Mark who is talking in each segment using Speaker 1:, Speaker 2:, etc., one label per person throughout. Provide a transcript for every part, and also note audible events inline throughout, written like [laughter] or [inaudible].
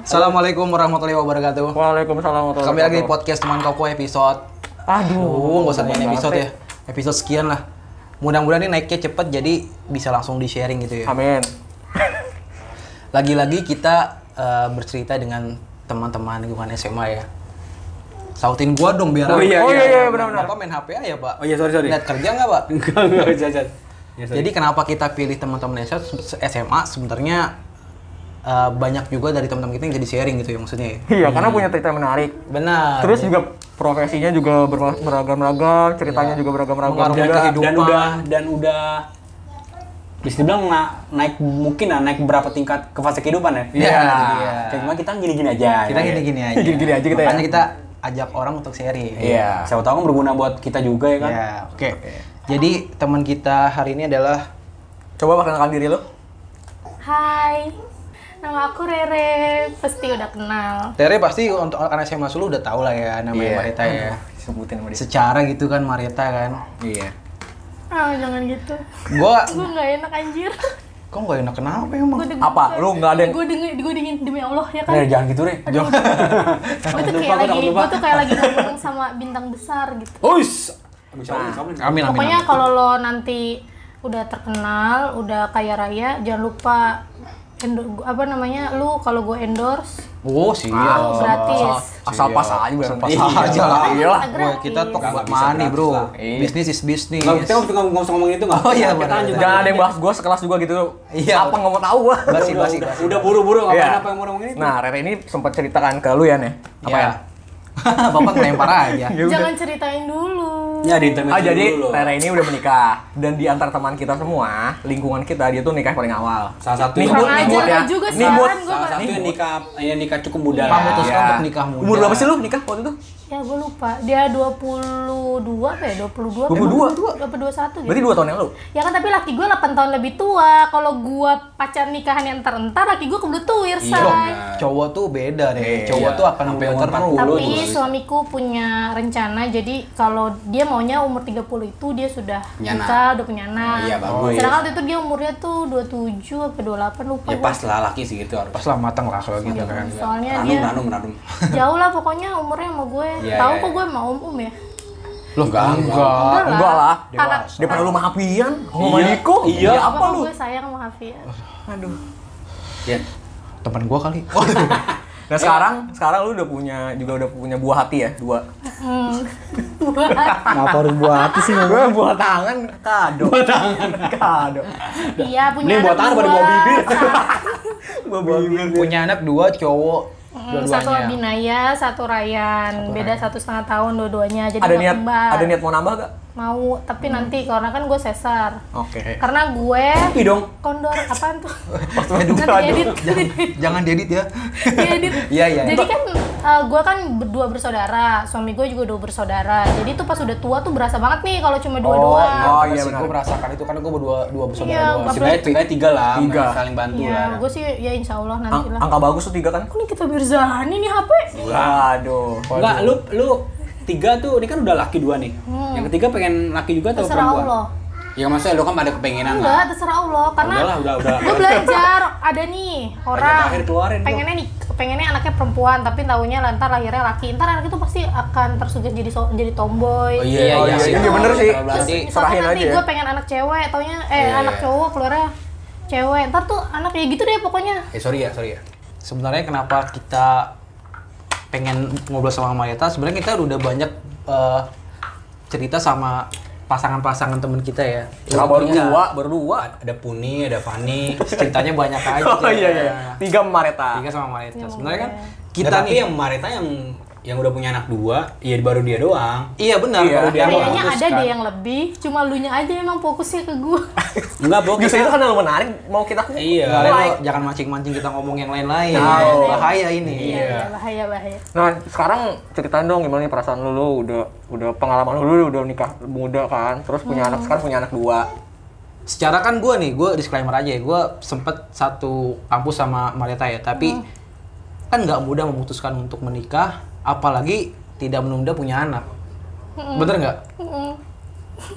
Speaker 1: Assalamualaikum warahmatullahi wabarakatuh.
Speaker 2: Waalaikumsalam warahmatullahi
Speaker 1: Kami lagi di
Speaker 2: wabarakatuh.
Speaker 1: podcast teman koko episode.
Speaker 2: Aduh,
Speaker 1: Uh, nggak usah
Speaker 2: banyak
Speaker 1: main episode ya.
Speaker 2: banget
Speaker 1: Episode sekian lah. Mudah-mudahan ini naiknya cepet jadi bisa langsung di sharing gitu ya.
Speaker 2: Amin.
Speaker 1: Lagi-lagi kita eh, bercerita dengan teman-teman lingkungan SMA ya. Sautin gua dong biar.
Speaker 3: Oh iya,
Speaker 2: Oh iya, iya, benar-benar.
Speaker 1: Bapak main HP aja pak.
Speaker 3: Oh iya, sorry, sorry.
Speaker 1: Lihat kerja nggak pak?
Speaker 3: Enggak, [laughs] enggak jajan. Ya, sorry.
Speaker 1: Jadi kenapa kita pilih teman-teman SMA se- SMA sebenarnya eh, banyak juga dari teman-teman kita yang jadi sharing gitu ya maksudnya ya.
Speaker 2: Iya, karena punya cerita menarik.
Speaker 1: Benar.
Speaker 2: Terus juga profesinya juga berma- beragam-ragam,
Speaker 1: Iya.
Speaker 2: ceritanya juga beragam-ragam.
Speaker 1: Mengarungi
Speaker 2: juga.
Speaker 1: kehidupan.
Speaker 3: dan udah dan udah bisa dibilang na- naik mungkin lah naik berapa tingkat ke fase kehidupan ya.
Speaker 1: Iya.
Speaker 3: Kayak Cuma kita gini-gini aja.
Speaker 1: kita
Speaker 3: ya.
Speaker 1: gini-gini aja.
Speaker 2: Gini-gini aja kita ya.
Speaker 1: Makanya kita ajak orang untuk sharing.
Speaker 3: Iya. Siapa tahu kan berguna buat kita juga ya kan.
Speaker 1: Ya, oke. Jadi teman kita hari ini adalah
Speaker 2: Coba perkenalkan diri lo.
Speaker 4: Hai, nama aku Rere, pasti udah kenal.
Speaker 1: Tere pasti untuk anak SMA Sulu udah tau lah ya namanya
Speaker 3: Iya.
Speaker 1: Mareta ya.
Speaker 2: Hmm.
Speaker 3: Sebutin sama dia.
Speaker 1: Secara gitu kan Mareta kan.
Speaker 3: Iya.
Speaker 4: Ah, jangan gitu.
Speaker 1: Gua
Speaker 4: Gue nggak enak anjir.
Speaker 1: kok gak enak kenapa ya, emang?
Speaker 4: Gua deg-
Speaker 2: Apa? Lu nggak ada-
Speaker 4: Gue dingin, gue dingin demi Allah ya kan.
Speaker 3: Rere, jangan gitu deh.
Speaker 4: Gue tuh
Speaker 3: Lupa, gua
Speaker 4: kayak lagi,
Speaker 3: takut lupa.
Speaker 4: gue tuh kayak lagi ngomong sama bintang besar gitu.
Speaker 2: Oh,
Speaker 3: Uis. Abis nah. kamu
Speaker 1: Amin amin.
Speaker 4: Pokoknya
Speaker 1: amin.
Speaker 4: kalau lo nanti udah terkenal, udah kaya raya, jangan lupa endo- apa namanya lu kalau gue endorse
Speaker 1: Oh
Speaker 2: Iya,
Speaker 1: sih.
Speaker 4: lu gratis.
Speaker 2: Asal pas aja. Asal
Speaker 1: Pas aja lah.
Speaker 4: Iya lah.
Speaker 1: Wah, kita talk
Speaker 3: Nggak
Speaker 1: about
Speaker 3: bisa
Speaker 1: money
Speaker 3: gratis
Speaker 1: bro.
Speaker 3: lah.
Speaker 1: Iya. Bisnis is bisnis.
Speaker 3: Nggak, kita nggak nggak usah ngomongin itu nggak.
Speaker 1: Oh iya,
Speaker 3: kita
Speaker 1: benar,
Speaker 3: lanjut.
Speaker 1: benar.
Speaker 2: Jangan ada yang bahas gue sekelas juga gitu.
Speaker 1: Iya.
Speaker 2: Apa nggak mau tahu
Speaker 1: [laughs]
Speaker 2: gue.
Speaker 1: Basi
Speaker 3: Udah,
Speaker 1: basi
Speaker 3: udah,
Speaker 1: basi.
Speaker 3: udah buru-buru ngapain
Speaker 2: Iya.
Speaker 3: apa yang mau ngomongin itu?
Speaker 2: Nah, Rere ini sempat ceritakan ke lu ya, Nih. Apa
Speaker 1: Iya.
Speaker 2: [laughs] ya?
Speaker 1: Bapak ngelempar aja.
Speaker 2: Ya udah.
Speaker 4: Jangan ceritain dulu.
Speaker 3: Ya di internet
Speaker 2: Ah, jadi Rere ini udah menikah dan di antara teman kita semua, lingkungan kita dia tuh nikah paling awal.
Speaker 3: Salah satu
Speaker 2: Nih,
Speaker 4: Kurang
Speaker 2: buat- nih,
Speaker 4: ajar
Speaker 2: buat ya.
Speaker 4: lu juga kan?
Speaker 2: Nih,
Speaker 4: sekarang
Speaker 2: buat-
Speaker 4: gue
Speaker 3: Salah satu yang nikah yang nikah cukup muda lah.
Speaker 1: Memutuskan
Speaker 2: Iya.
Speaker 1: kan untuk nikah muda.
Speaker 2: Umur berapa sih lu nikah waktu itu?
Speaker 4: Ya gue lupa, dia 22 apa ya? 22 apa?
Speaker 2: 22?
Speaker 4: 22, 21
Speaker 2: Berarti
Speaker 4: gitu.
Speaker 2: 2 tahun yang lalu.
Speaker 4: Ya kan tapi laki gue 8 tahun lebih tua. Kalau gue pacar nikahan yang entar-entar, laki gue kebelet tuir,
Speaker 2: Iya.
Speaker 1: Loh,
Speaker 4: say.
Speaker 1: cowok tuh beda deh.
Speaker 3: Iya.
Speaker 1: Cowok tuh akan muda
Speaker 3: Sampai umur
Speaker 1: terus.
Speaker 3: 40.
Speaker 4: Tapi
Speaker 3: Dulu, dulu.
Speaker 4: suamiku punya rencana, jadi kalau dia maunya umur 30 itu dia sudah
Speaker 3: Punya
Speaker 4: nikah, udah punya anak.
Speaker 3: iya, bagus.
Speaker 4: Sedangkan waktu itu dia umurnya tuh 27 apa 28 lupa
Speaker 3: Ya
Speaker 4: gua.
Speaker 3: pas lah laki sih gitu harus.
Speaker 1: Pas lah matang lah kalau
Speaker 2: Iya.
Speaker 1: gitu kan.
Speaker 4: Soalnya
Speaker 3: Ranum,
Speaker 4: dia
Speaker 3: ranum, ranum.
Speaker 4: jauh lah pokoknya umurnya sama gue.
Speaker 3: Iya,
Speaker 4: Tahu
Speaker 3: iya, Ah,
Speaker 4: kok
Speaker 3: iya.
Speaker 4: gue sama om-om ya?
Speaker 2: Iya.
Speaker 1: Loh, enggak, enggak.
Speaker 4: Iya.
Speaker 2: enggak lah.
Speaker 4: Anak-
Speaker 2: Dia pernah lu mahapian, sama
Speaker 3: Iya.
Speaker 2: Diko.
Speaker 3: Iya.
Speaker 2: apa lu?
Speaker 4: Gue sayang sama Hafian.
Speaker 2: Aduh.
Speaker 3: Ya.
Speaker 1: Temen gua
Speaker 2: [laughs]
Speaker 1: kali.
Speaker 2: Nah, sekarang sekarang lu udah punya juga udah punya buah hati ya, dua.
Speaker 4: Hmm. Buat-
Speaker 5: Kenapa harus buah hati sih?
Speaker 2: Gue buah tangan kado. Buah tangan kado.
Speaker 4: Iya punya
Speaker 3: Ini buat tangan pada buat bibir.
Speaker 2: Buah bibir.
Speaker 1: [laughs] Punya anak dua cowok.
Speaker 4: Hmm, satu Abinaya, satu Ryan. Beda satu setengah tahun dua-duanya. Jadi
Speaker 2: Ada
Speaker 4: nggak
Speaker 2: niat
Speaker 4: kembar.
Speaker 2: ada niat mau nambah gak?
Speaker 4: Mau, tapi nanti karena kan gue sesar.
Speaker 2: Oke.
Speaker 4: Karena gue
Speaker 3: Kopi dong.
Speaker 4: kondor apaan tuh?
Speaker 2: aduh,
Speaker 4: nanti
Speaker 2: aduh. [laughs]
Speaker 4: edit.
Speaker 1: Jangan, [laughs] jangan diedit ya.
Speaker 4: Diedit.
Speaker 1: Iya, iya.
Speaker 4: Jadi kan eh, gue kan berdua bersaudara, suami gue juga dua bersaudara. Jadi tuh pas udah tua tuh berasa banget nih kalau cuma dua-dua.
Speaker 2: Oh, iya,
Speaker 1: Pasti
Speaker 2: benar.
Speaker 1: Gua merasakan itu karena gua berdua dua
Speaker 4: Iya,
Speaker 1: bersaudara doang.
Speaker 4: gua-
Speaker 3: Sebenarnya kan sebenarnya tiga lah,
Speaker 2: Tiga.
Speaker 3: saling bantu
Speaker 4: Iya,
Speaker 3: lah.
Speaker 4: gue sih ya insya Allah nanti
Speaker 2: Ang-
Speaker 4: lah.
Speaker 2: angka bagus tuh tiga kan?
Speaker 4: Kok nih kita Mirzani nih HP?
Speaker 2: Waduh.
Speaker 3: Enggak, lu lu tiga tuh ini kan udah laki dua nih. Yang ketiga pengen laki juga atau
Speaker 4: Hmm. Terserah
Speaker 3: perempuan?
Speaker 4: Allah.
Speaker 3: Ya maksudnya lu kan ada kepengenan
Speaker 4: Enggak,
Speaker 3: lah.
Speaker 4: terserah Allah. Karena
Speaker 3: Udah lah, udah, udah.
Speaker 4: gue belajar ada nih orang
Speaker 3: terakhir keluarin tuh.
Speaker 4: pengennya nih pengennya anaknya perempuan tapi taunya lantar lahirnya laki ntar anak itu pasti akan tersugesti jadi so- jadi tomboy
Speaker 3: Oh iya,
Speaker 2: Oh,
Speaker 3: iya,
Speaker 2: iya,
Speaker 3: sih.
Speaker 2: iya, bener sih.
Speaker 3: Terus
Speaker 1: Berarti
Speaker 2: serahin
Speaker 4: misalkan nanti
Speaker 2: aja ya.
Speaker 4: gue pengen anak cewek taunya eh
Speaker 3: Iya,
Speaker 4: anak
Speaker 3: iya.
Speaker 4: cowok keluarnya cewek ntar tuh anak ya gitu deh pokoknya
Speaker 3: Eh sorry ya, sorry ya.
Speaker 1: Sebenarnya kenapa kita pengen ngobrol sama Marieta? Sebenarnya kita udah banyak eh, cerita sama pasangan-pasangan temen kita ya.
Speaker 2: Nah, baru
Speaker 1: Iya.
Speaker 2: dua, baru dua.
Speaker 3: Ada Puni, ada [laughs] Fani.
Speaker 1: Ceritanya
Speaker 2: [laughs]
Speaker 1: banyak aja.
Speaker 2: Oh iya iya. Tiga Mareta.
Speaker 1: Tiga sama
Speaker 4: Iya,
Speaker 1: Marieta. Sebenarnya kan
Speaker 3: Kita
Speaker 1: kita
Speaker 3: tapi
Speaker 1: nih
Speaker 3: yang Marita yang yang udah punya anak dua, ya baru dia doang.
Speaker 1: Iya benar.
Speaker 2: Iya.
Speaker 1: baru dia
Speaker 3: Kayaknya
Speaker 4: kayaknya ada
Speaker 1: memutuskan.
Speaker 4: deh
Speaker 3: kan.
Speaker 4: yang lebih cuma lunya aja emang fokusnya ke gue
Speaker 3: Enggak, Bro.
Speaker 2: Justru itu karena lu menarik mau kita ku-
Speaker 3: Iya.
Speaker 1: Nah, Reno,
Speaker 2: like.
Speaker 1: jangan mancing-mancing kita ngomong yang lain-lain.
Speaker 2: Oh.
Speaker 1: Bahaya ini.
Speaker 4: iya iya, bahaya bahaya
Speaker 2: Nah, sekarang ceritain dong gimana nih perasaan lu, lu udah udah pengalaman lu, lu udah nikah muda kan, terus punya anak sekarang punya anak dua.
Speaker 1: Secara kan gue nih, gue disclaimer aja ya, gue sempet satu kampus sama Marieta ya, tapi
Speaker 4: Hmm.
Speaker 1: kan nggak mudah memutuskan untuk menikah, apalagi tidak menunda punya anak.
Speaker 4: Hmm.
Speaker 1: Bener nggak?
Speaker 4: Mm-mm.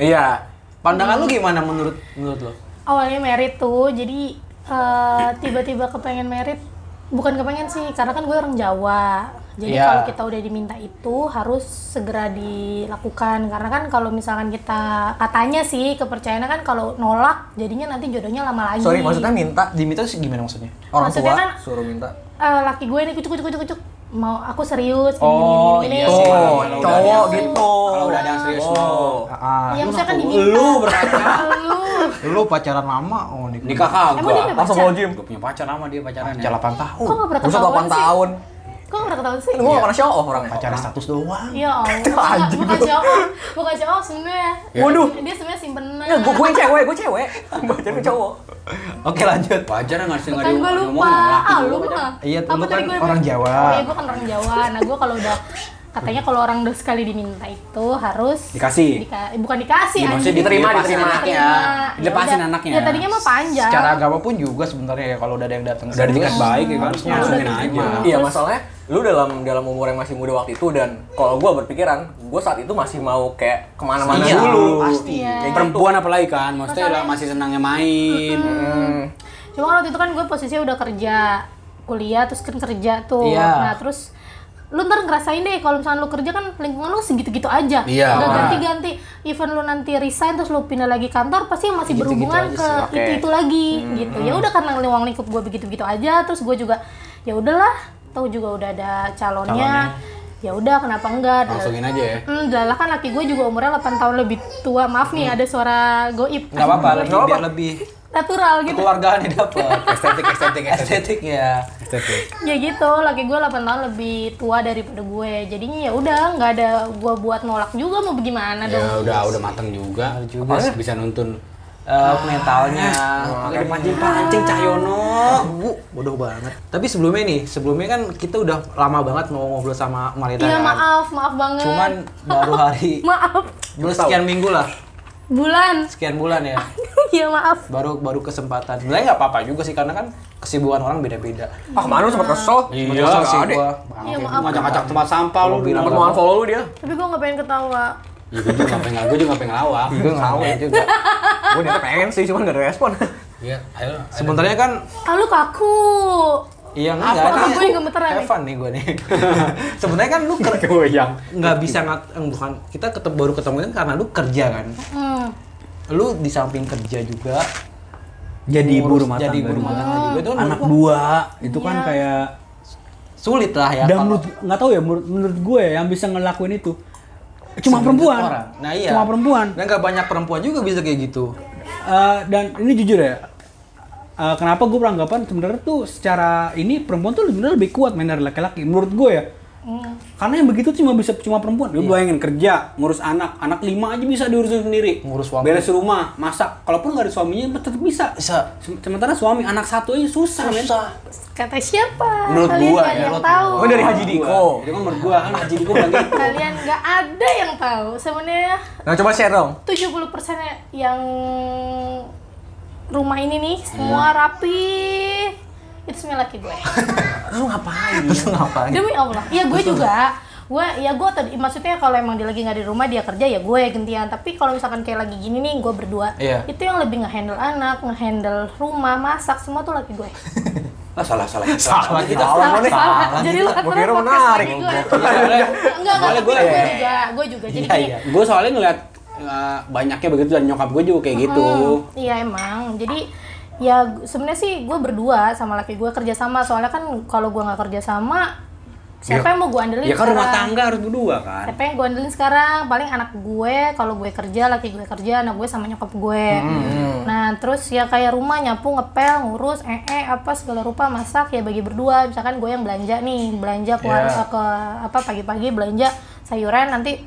Speaker 2: Iya.
Speaker 1: Pandangan
Speaker 4: Hmm.
Speaker 1: lu gimana menurut menurut lo?
Speaker 4: awalnya merit tuh jadi eh, tiba-tiba kepengen merit bukan kepengen sih karena kan gue orang Jawa jadi
Speaker 1: Iya.
Speaker 4: kalau kita udah diminta itu harus segera dilakukan karena kan kalau misalkan kita katanya sih kepercayaannya kan kalau nolak jadinya nanti jodohnya lama lagi
Speaker 2: Sorry, maksudnya minta
Speaker 1: Diminta sih gimana maksudnya?
Speaker 2: orang
Speaker 4: Maksudnya
Speaker 2: tua
Speaker 4: kan-
Speaker 2: suruh minta.
Speaker 4: Eh, laki gue nih kucuk kucuk kucuk kucuk mau aku serius gini
Speaker 3: Oh,
Speaker 4: gini gini,
Speaker 3: iya
Speaker 4: gini.
Speaker 3: sih.
Speaker 2: Oh,
Speaker 3: Kalau udah ada
Speaker 2: cowok
Speaker 3: yang-
Speaker 2: gitu.
Speaker 3: Kalau udah ada yang serius no.
Speaker 1: Ah,
Speaker 4: ya Iya, misalkan diminta
Speaker 3: Lu berarti
Speaker 4: lu
Speaker 1: lu pacaran lama oh kan nikah.
Speaker 3: nikah kagak.
Speaker 4: Emang dia punya
Speaker 2: Langsung
Speaker 4: pacar?
Speaker 2: mau gym.
Speaker 3: Gue punya pacar sama dia pacaran ya.
Speaker 1: Pacar 8 tahun.
Speaker 4: kok nggak pernah
Speaker 2: Maksud 8
Speaker 4: ketahuan sih
Speaker 2: tahun.
Speaker 4: kok nggak pernah ketahuan sih
Speaker 2: Kan gua gak pernah show off orangnya.
Speaker 1: Pacaran status doang.
Speaker 4: ya
Speaker 2: [laughs]
Speaker 4: Allah bukan bukan cowok bukan cowok sebenarnya
Speaker 2: Waduh.
Speaker 4: dia sebenarnya simpenan
Speaker 2: Enggak, gua, gua yang cewek, gua cewek. Pacaran gua cowok.
Speaker 1: Oke, lanjut.
Speaker 3: Pacar nggak sih nggak
Speaker 4: kan gue lupa ah lu mah
Speaker 1: Iya,
Speaker 4: Apa
Speaker 1: lu
Speaker 4: tadi
Speaker 1: kan
Speaker 4: gue-
Speaker 1: orang Jawa.
Speaker 4: oh iya gue kan orang Jawa nah gue kalau udah katanya kalau orang udah sekali diminta itu harus
Speaker 3: Dikasih.
Speaker 4: Dika- eh, bukan dikasih
Speaker 3: Iya, maksudnya
Speaker 4: anjing.
Speaker 3: diterima,
Speaker 4: Dilepasin
Speaker 3: diterima.
Speaker 4: anaknya.
Speaker 3: Iya. Dilepasin
Speaker 4: udah.
Speaker 3: anaknya.
Speaker 4: ya tadinya mah panjang
Speaker 1: Secara agama pun juga sebenarnya ya kalau udah ada yang datang.
Speaker 3: Udah ditingkat
Speaker 1: serius,
Speaker 3: baik ya kan.
Speaker 1: harusnya
Speaker 3: Langsungin
Speaker 4: udah
Speaker 3: aja.
Speaker 4: diterima.
Speaker 2: Iya,
Speaker 4: Terus-
Speaker 2: masalahnya lu dalam dalam umur yang masih muda waktu itu dan kalau gua berpikiran, gua saat itu masih mau kayak kemana-mana
Speaker 3: Iya,
Speaker 2: dulu.
Speaker 1: pasti.
Speaker 4: Iya.
Speaker 2: Kayak gitu.
Speaker 3: Perempuan apalagi kan, maksudnya
Speaker 4: Masalahnya-
Speaker 3: lah masih senangnya main.
Speaker 2: Hmm.
Speaker 4: cuma waktu itu kan gue posisinya udah kerja kuliah terus kan kerja tuh
Speaker 1: Iya.
Speaker 4: nah terus lu ntar ngerasain deh kalau misalnya lu kerja kan lingkungan lu segitu-gitu aja
Speaker 3: Iya.
Speaker 4: Nggak ganti-ganti even lu nanti resign terus lu pindah lagi kantor pasti yang masih
Speaker 1: Gitu-gitu
Speaker 4: berhubungan
Speaker 1: aja
Speaker 4: ke
Speaker 1: sih, Hmm,
Speaker 2: oke.
Speaker 4: itu-itu lagi gitu ya udah karena lingkungan lingkup gue begitu-begitu aja terus gue juga ya udahlah tahu juga udah ada calonnya, ya udah kenapa enggak
Speaker 3: Langsungin aja ya.
Speaker 4: Hmm, dahlah kan laki gue juga umurnya 8 tahun lebih tua. Maaf nih ada suara goib.
Speaker 1: Enggak Hmm. apa-apa,
Speaker 4: Goib.
Speaker 1: lebih biar lebih
Speaker 4: Natural gitu.
Speaker 1: keluargaannya dapat.
Speaker 3: Estetik, estetik, estetik.
Speaker 1: Estetik ya.
Speaker 4: ya gitu laki gue 8 tahun lebih tua daripada gue jadinya ya udah nggak ada gue buat nolak juga mau gimana
Speaker 3: Ya
Speaker 4: dong
Speaker 3: udah udah mateng juga. juga.
Speaker 5: ya.
Speaker 3: bisa nuntun.
Speaker 1: Eh, mentalnya.
Speaker 3: Pakai dipancing-pancing Cahyono.
Speaker 1: Bu, bodoh banget. Tapi sebelumnya nih, sebelumnya kan kita udah lama banget mau ngobrol sama Marita.
Speaker 4: iya
Speaker 1: kan?
Speaker 4: maaf maaf banget
Speaker 1: Cuman baru
Speaker 4: [laughs]
Speaker 1: hari
Speaker 4: maaf
Speaker 1: baru sekian minggu lah,
Speaker 4: bulan [laughs]
Speaker 1: sekian bulan ya.
Speaker 4: iya maaf
Speaker 1: Baru baru kesempatan. Sebenarnya nggak apa-apa juga sih karena kan kesibukan orang beda-beda.
Speaker 2: Ah, kemana lu sempat kesel? Sempet
Speaker 1: Iya,
Speaker 2: kesel
Speaker 1: sih
Speaker 2: ada.
Speaker 1: gua. Iya.
Speaker 4: iya
Speaker 3: Lu
Speaker 4: maaf
Speaker 3: Ngacak-ngacak tempat sampah lu bilang.
Speaker 2: Sempet mau unfollow lu dia.
Speaker 4: tapi gue nggak pengen ketawa
Speaker 3: Ya, gue juga pengen gue juga pengen lawak.
Speaker 1: Gue
Speaker 5: Iya.
Speaker 1: nggak mau juga.
Speaker 2: Gua niatnya pengen sih, cuman gak ada respon.
Speaker 3: Iya, ayo.
Speaker 5: ya.
Speaker 3: [laughs]
Speaker 1: Sebenarnya kan
Speaker 4: ah lu kaku
Speaker 1: Iya enggak,
Speaker 4: Apa?
Speaker 1: ini
Speaker 4: Gue yang gemeteran nih.
Speaker 1: Evan nih gue nih. [laughs] Sebenarnya kan lu ker-
Speaker 3: Goyang.
Speaker 1: nggak bisa ngat eh, bukan kita ketemu baru ketemu kan karena lu kerja kan.
Speaker 4: hmm.
Speaker 1: Lu di samping kerja juga
Speaker 5: jadi ibu
Speaker 1: ngurus-
Speaker 5: rumah tangga
Speaker 1: jadi ibu rumah tangga juga itu kan
Speaker 5: anak
Speaker 1: menurut gua
Speaker 5: dua itu kan
Speaker 4: Iya.
Speaker 5: kayak
Speaker 1: sulit lah ya.
Speaker 5: dan
Speaker 1: kalau
Speaker 5: menurut nggak tahu ya menurut, menurut gue yang bisa ngelakuin itu cuma
Speaker 1: sebagian
Speaker 5: perempuan
Speaker 1: orang. Nah iya.
Speaker 5: cuma perempuan
Speaker 1: Dan nggak banyak perempuan juga bisa kayak gitu.
Speaker 5: Eh, dan ini jujur ya eh, kenapa gue beranggapan sebenarnya tuh secara ini perempuan tuh sebenarnya lebih kuat main dari laki-laki menurut gue ya
Speaker 4: Mm.
Speaker 5: karena yang begitu cuma bisa cuma perempuan
Speaker 3: Lu bayangin kerja, ngurus anak, anak lima aja bisa diurusin sendiri.
Speaker 1: Ngurus suami.
Speaker 3: Beres rumah, masak. Kalaupun nggak ada suaminya, tetap bisa.
Speaker 1: Bisa.
Speaker 3: Sem- Sementara suami anak satu aja susah, men.
Speaker 4: kata siapa
Speaker 1: Menurut
Speaker 4: kalian
Speaker 1: gua
Speaker 4: nggak
Speaker 1: ya,
Speaker 4: ada yang
Speaker 1: menurut
Speaker 4: tahu
Speaker 2: Gua dari Haji
Speaker 3: Diko.
Speaker 2: Diko.
Speaker 3: Itu kan menurut gua kan Haji Diko bilang gitu.
Speaker 4: kalian nggak ada yang tahu sebenarnya
Speaker 2: Nah, coba share dong.
Speaker 4: 70% yang rumah ini nih
Speaker 1: Iya.
Speaker 4: semua rapi itu semuanya laki gue
Speaker 2: Lu ngapain?
Speaker 1: [laughs] Terus ngapain?
Speaker 4: demi allah ya gue juga gue ya gue tadi maksudnya kalau emang dia lagi nggak di rumah dia kerja ya gue gantian tapi kalau misalkan kayak lagi gini nih gue berdua
Speaker 1: Iya.
Speaker 4: itu yang lebih ngehandle anak ngehandle rumah masak semua tuh laki gue
Speaker 3: Lah Ah, salah [laughs] salah.
Speaker 1: Salah kita.
Speaker 4: Salah,
Speaker 2: nih.
Speaker 4: salah.
Speaker 2: Oh, Salah
Speaker 4: jadi
Speaker 2: kita.
Speaker 4: lu kan
Speaker 2: Gua
Speaker 4: pernah
Speaker 2: kira
Speaker 4: podcast
Speaker 2: menarik.
Speaker 4: lagi gue enggak enggak tapi
Speaker 3: Boleh,
Speaker 4: gue
Speaker 3: boleh.
Speaker 4: juga gue juga jadi
Speaker 1: Iya,
Speaker 4: gini,
Speaker 1: iya.
Speaker 3: Gua soalnya ngeliat eh, banyaknya begitu dan nyokap gua juga kayak gitu.
Speaker 4: Hmm, Iya emang. Jadi ya gu- sebenarnya sih gue berdua sama laki gue kerja sama. Soalnya kan kalau gue nggak kerja sama, siapa yang mau gue andelin?
Speaker 3: Ya kan rumah
Speaker 4: sekarang?
Speaker 3: tangga harus berdua kan.
Speaker 4: Siapa yang gue andelin sekarang? Paling anak gue, kalau gue kerja, laki gue kerja, anak gue sama nyokap gue. Nah terus ya kayak rumah nyapu, ngepel, ngurus, eh eh apa segala rupa masak ya bagi berdua. Misalkan gue yang belanja nih, belanja keluar
Speaker 1: Iya.
Speaker 4: ke apa pagi-pagi belanja sayuran nanti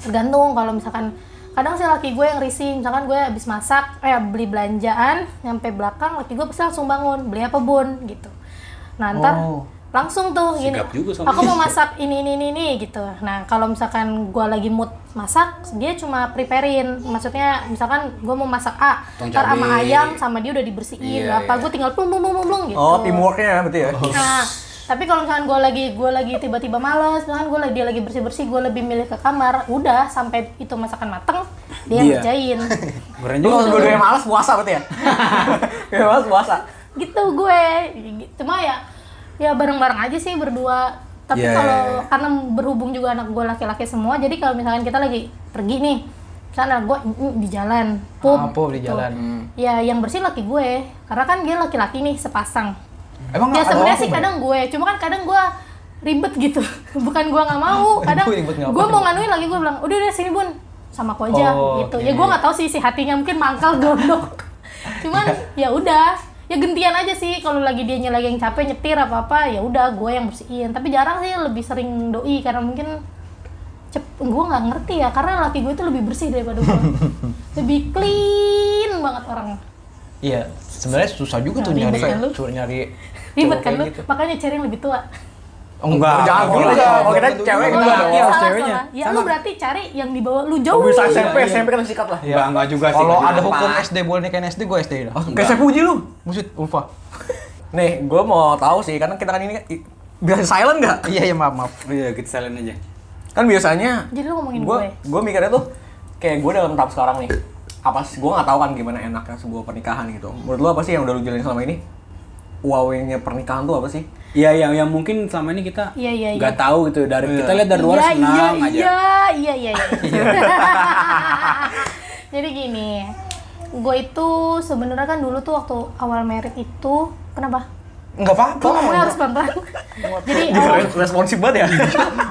Speaker 4: tergantung kalau misalkan kadang sih laki gue yang risih misalkan gue habis masak eh beli belanjaan nyampe belakang laki gue pasti langsung bangun beli apa bun gitu nah ntar langsung tuh Oh, gini
Speaker 3: Sigap juga sama
Speaker 4: aku
Speaker 3: dia."
Speaker 4: mau masak ini ini ini, ini gitu nah kalau misalkan gue lagi mood masak dia cuma preparein maksudnya misalkan gue mau masak A
Speaker 3: Potong
Speaker 4: ntar sama
Speaker 3: cabai.
Speaker 4: ayam sama dia udah dibersihin
Speaker 3: Iya,
Speaker 4: apa
Speaker 3: iya.
Speaker 4: gue tinggal plung plung plung plung, plung gitu
Speaker 2: Oh, teamworknya berarti ya.
Speaker 4: Nah, tapi kalau misalkan gue lagi gue lagi tiba-tiba malas, misalkan gue lagi dia lagi bersih-bersih, gue lebih milih ke kamar. Udah sampai itu masakan mateng, dia yang
Speaker 3: Iya.
Speaker 4: ngerjain.
Speaker 2: Keren juga. Lu dua malas puasa berarti ya. Gue malas puasa.
Speaker 4: gitu gue. Cuma ya ya bareng-bareng aja sih berdua tapi
Speaker 6: Iya,
Speaker 4: kalau
Speaker 6: iya, iya.
Speaker 4: karena berhubung juga anak gue laki-laki semua jadi kalau misalkan kita lagi pergi nih misalnya anak gue mm, di jalan pub,
Speaker 1: Ah, pub di
Speaker 4: gitu.
Speaker 1: jalan.
Speaker 4: ya yang bersih laki gue karena kan dia laki-laki nih sepasang
Speaker 6: Emang
Speaker 4: ya
Speaker 6: ada
Speaker 4: sebenarnya
Speaker 6: apa,
Speaker 4: sih
Speaker 6: Mbak?
Speaker 4: kadang gue cuma kan kadang gue ribet gitu [laughs] bukan gue nggak mau kadang
Speaker 1: Ibu ribet ngapain?
Speaker 4: gue mau nganuin lagi gue bilang udah udah sini bun sama aku aja
Speaker 1: Oh,
Speaker 4: gitu
Speaker 1: oke.
Speaker 4: ya gue nggak tahu sih si hatinya mungkin mangkal [laughs] gondok cuman
Speaker 1: Iya.
Speaker 4: ya udah ya gentian aja sih kalau lagi dianya lagi yang capek nyetir apa apa ya udah gue yang bersihin tapi jarang sih lebih sering doi karena mungkin cep gue nggak ngerti ya karena laki gue itu lebih bersih daripada
Speaker 1: [laughs]
Speaker 4: gue lebih clean banget orangnya
Speaker 1: Iya, sebenarnya susah juga tuh
Speaker 4: Ribet
Speaker 1: nyari
Speaker 4: kan lu?
Speaker 1: suruh nyari
Speaker 4: ribet
Speaker 1: cowok
Speaker 4: kan
Speaker 1: kayak
Speaker 4: lu
Speaker 1: gitu.
Speaker 4: makanya cari yang lebih tua
Speaker 1: Enggak,
Speaker 2: Jangan
Speaker 1: enggak.
Speaker 2: gitu.
Speaker 1: Kalau kita
Speaker 2: cewek
Speaker 4: Oh,
Speaker 2: enggak
Speaker 4: iya,
Speaker 2: dong.
Speaker 4: iya,
Speaker 2: Harus
Speaker 4: salah,
Speaker 2: ceweknya.
Speaker 4: salah. Ya lu berarti cari yang di bawah lu
Speaker 5: Oh.
Speaker 4: jauh.
Speaker 2: bisa
Speaker 4: Iya.
Speaker 2: SMP, SMP kan sikat lah.
Speaker 3: Iya.
Speaker 5: Enggak, enggak juga sih.
Speaker 1: Kalau
Speaker 5: enggak
Speaker 1: ada
Speaker 5: juga.
Speaker 1: hukum SD boleh nikahin SD, gue SD [laughs] lah.
Speaker 2: Kayak saya puji lu.
Speaker 1: Musit, Ulfa.
Speaker 2: Nih, gue mau tahu sih karena kita kan ini i- biasa silent nggak?
Speaker 1: Iya, iya maaf, maaf.
Speaker 3: Oh iya, kita salin aja.
Speaker 2: Kan biasanya
Speaker 4: Jadi lu ngomongin
Speaker 2: gue
Speaker 4: gue.
Speaker 2: gue mikirnya tuh kayak gue dalam tahap sekarang nih. Apa sih gue nggak tahu kan gimana enaknya sebuah pernikahan gitu. Menurut lo apa sih yang udah lu jalanin selama ini? Wow-nya pernikahan tuh apa sih?
Speaker 5: Iya, iya, yang mungkin selama ini kita
Speaker 4: Iya, iya, iya.
Speaker 5: nggak tahu gitu dari kita lihat dari luar
Speaker 4: Iya, iya,
Speaker 5: senang aja.
Speaker 4: iya, iya, iya, iya. [laughs] Jadi gini, gue itu sebenarnya kan dulu tuh waktu awal merit itu kenapa?
Speaker 1: Enggak apa-apa.
Speaker 4: Gue ngomongnya harus pelan-pelan. Jadi oh, awal
Speaker 2: Responsif banget ya.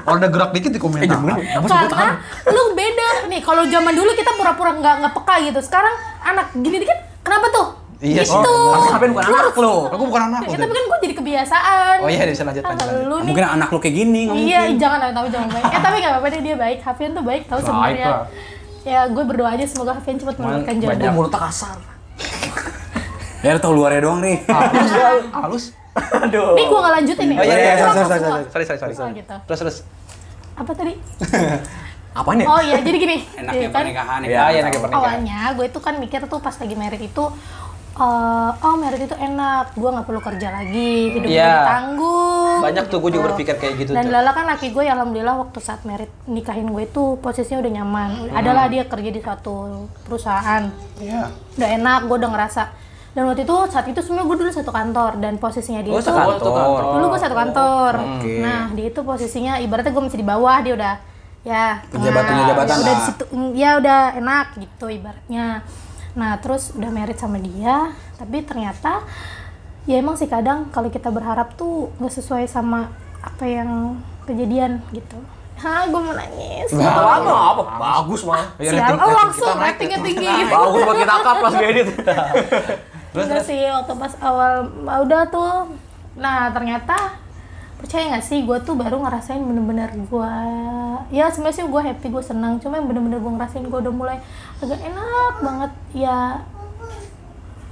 Speaker 1: Kalau ada Iya. gerak dikit di komentar.
Speaker 4: karena lu beda nih kalau zaman dulu kita pura-pura nggak nggak peka gitu sekarang anak gini dikit kenapa tuh
Speaker 1: Iya sih,
Speaker 4: gitu
Speaker 1: bener.
Speaker 2: Tapi ngapain bukan anak lo?
Speaker 1: Aku bukan anak
Speaker 4: ya,
Speaker 1: lu.
Speaker 4: tapi kan gue jadi kebiasaan
Speaker 1: Oh iya, bisa lanjut,
Speaker 4: Ah,
Speaker 1: lanjut, lanjut.
Speaker 4: lu nih
Speaker 5: Mungkin anak lo kayak gini ngomong.
Speaker 4: Iya, jangan lah, tapi jangan baik. Eh tapi gak apa-apa deh dia baik. Hafian tuh baik tahu sebenarnya.
Speaker 1: lah.
Speaker 4: Ya gue berdoa aja semoga Hafian cepat mendapatkan
Speaker 1: banyak.
Speaker 4: jodoh.
Speaker 2: Mulutnya kasar.
Speaker 5: Ya lu tahu luarnya doang
Speaker 4: [laughs]
Speaker 5: nih.
Speaker 1: Halus, halus.
Speaker 2: Aduh.
Speaker 4: Ini gue gak lanjutin ya.
Speaker 1: Oh iya, iya,
Speaker 4: Cuma
Speaker 5: sorry,
Speaker 4: maksud
Speaker 5: sorry,
Speaker 4: gua.
Speaker 5: sorry,
Speaker 1: Sorry, sorry, sorry.
Speaker 4: Oh, gitu.
Speaker 1: Terus, terus.
Speaker 4: Apa tadi?
Speaker 2: Apaan ya?
Speaker 4: Oh iya, jadi gini.
Speaker 3: [laughs] Enaknya
Speaker 4: Jadi kan
Speaker 3: pernikahan ya.
Speaker 1: Iya, iya, enaknya pernikahan.
Speaker 4: awalnya gue tuh kan mikir tuh pas lagi merit itu eh, oh merit itu enak, gue nggak perlu kerja lagi, hidup
Speaker 1: Iya.
Speaker 4: gue tanggung.
Speaker 1: Banyak tuh, gue juga berpikir kayak gitu
Speaker 4: Dan
Speaker 1: tuh.
Speaker 4: Lala kan laki gue, ya alhamdulillah waktu saat merit nikahin gue itu posisinya udah nyaman.
Speaker 1: Hmm.
Speaker 4: Adalah dia kerja di suatu perusahaan. Udah enak, gue udah ngerasa. Dan waktu itu saat itu sebenarnya gue dulu satu kantor dan posisinya dia
Speaker 2: Oh,
Speaker 4: itu
Speaker 2: sekantor.
Speaker 4: dulu gue satu kantor.
Speaker 2: Oke.
Speaker 4: Nah dia itu posisinya ibaratnya gue masih di bawah dia udah ya
Speaker 2: Punya
Speaker 4: tengah.
Speaker 2: batunya jabatan Nah.
Speaker 4: Ya udah di
Speaker 2: lah.
Speaker 4: situ mm, ya udah enak gitu ibaratnya. Nah terus udah merit sama dia tapi ternyata ya emang sih kadang kalau kita berharap tuh nggak sesuai sama apa yang kejadian gitu. Hah gue mau nangis.
Speaker 2: Apa apa? apa? Bagus malah.
Speaker 4: Sial, oh, langsung ratingnya
Speaker 2: ya,
Speaker 4: tinggi. [laughs] gitu.
Speaker 2: Bagus buat kita kap pas diedit.
Speaker 4: Enggak sih, waktu pas awal ah, udah tuh. Nah, ternyata percaya nggak sih gue tuh baru ngerasain bener-bener gue ya sebenarnya sih gue happy gue senang cuma yang bener-bener gue ngerasain gue udah mulai agak enak banget ya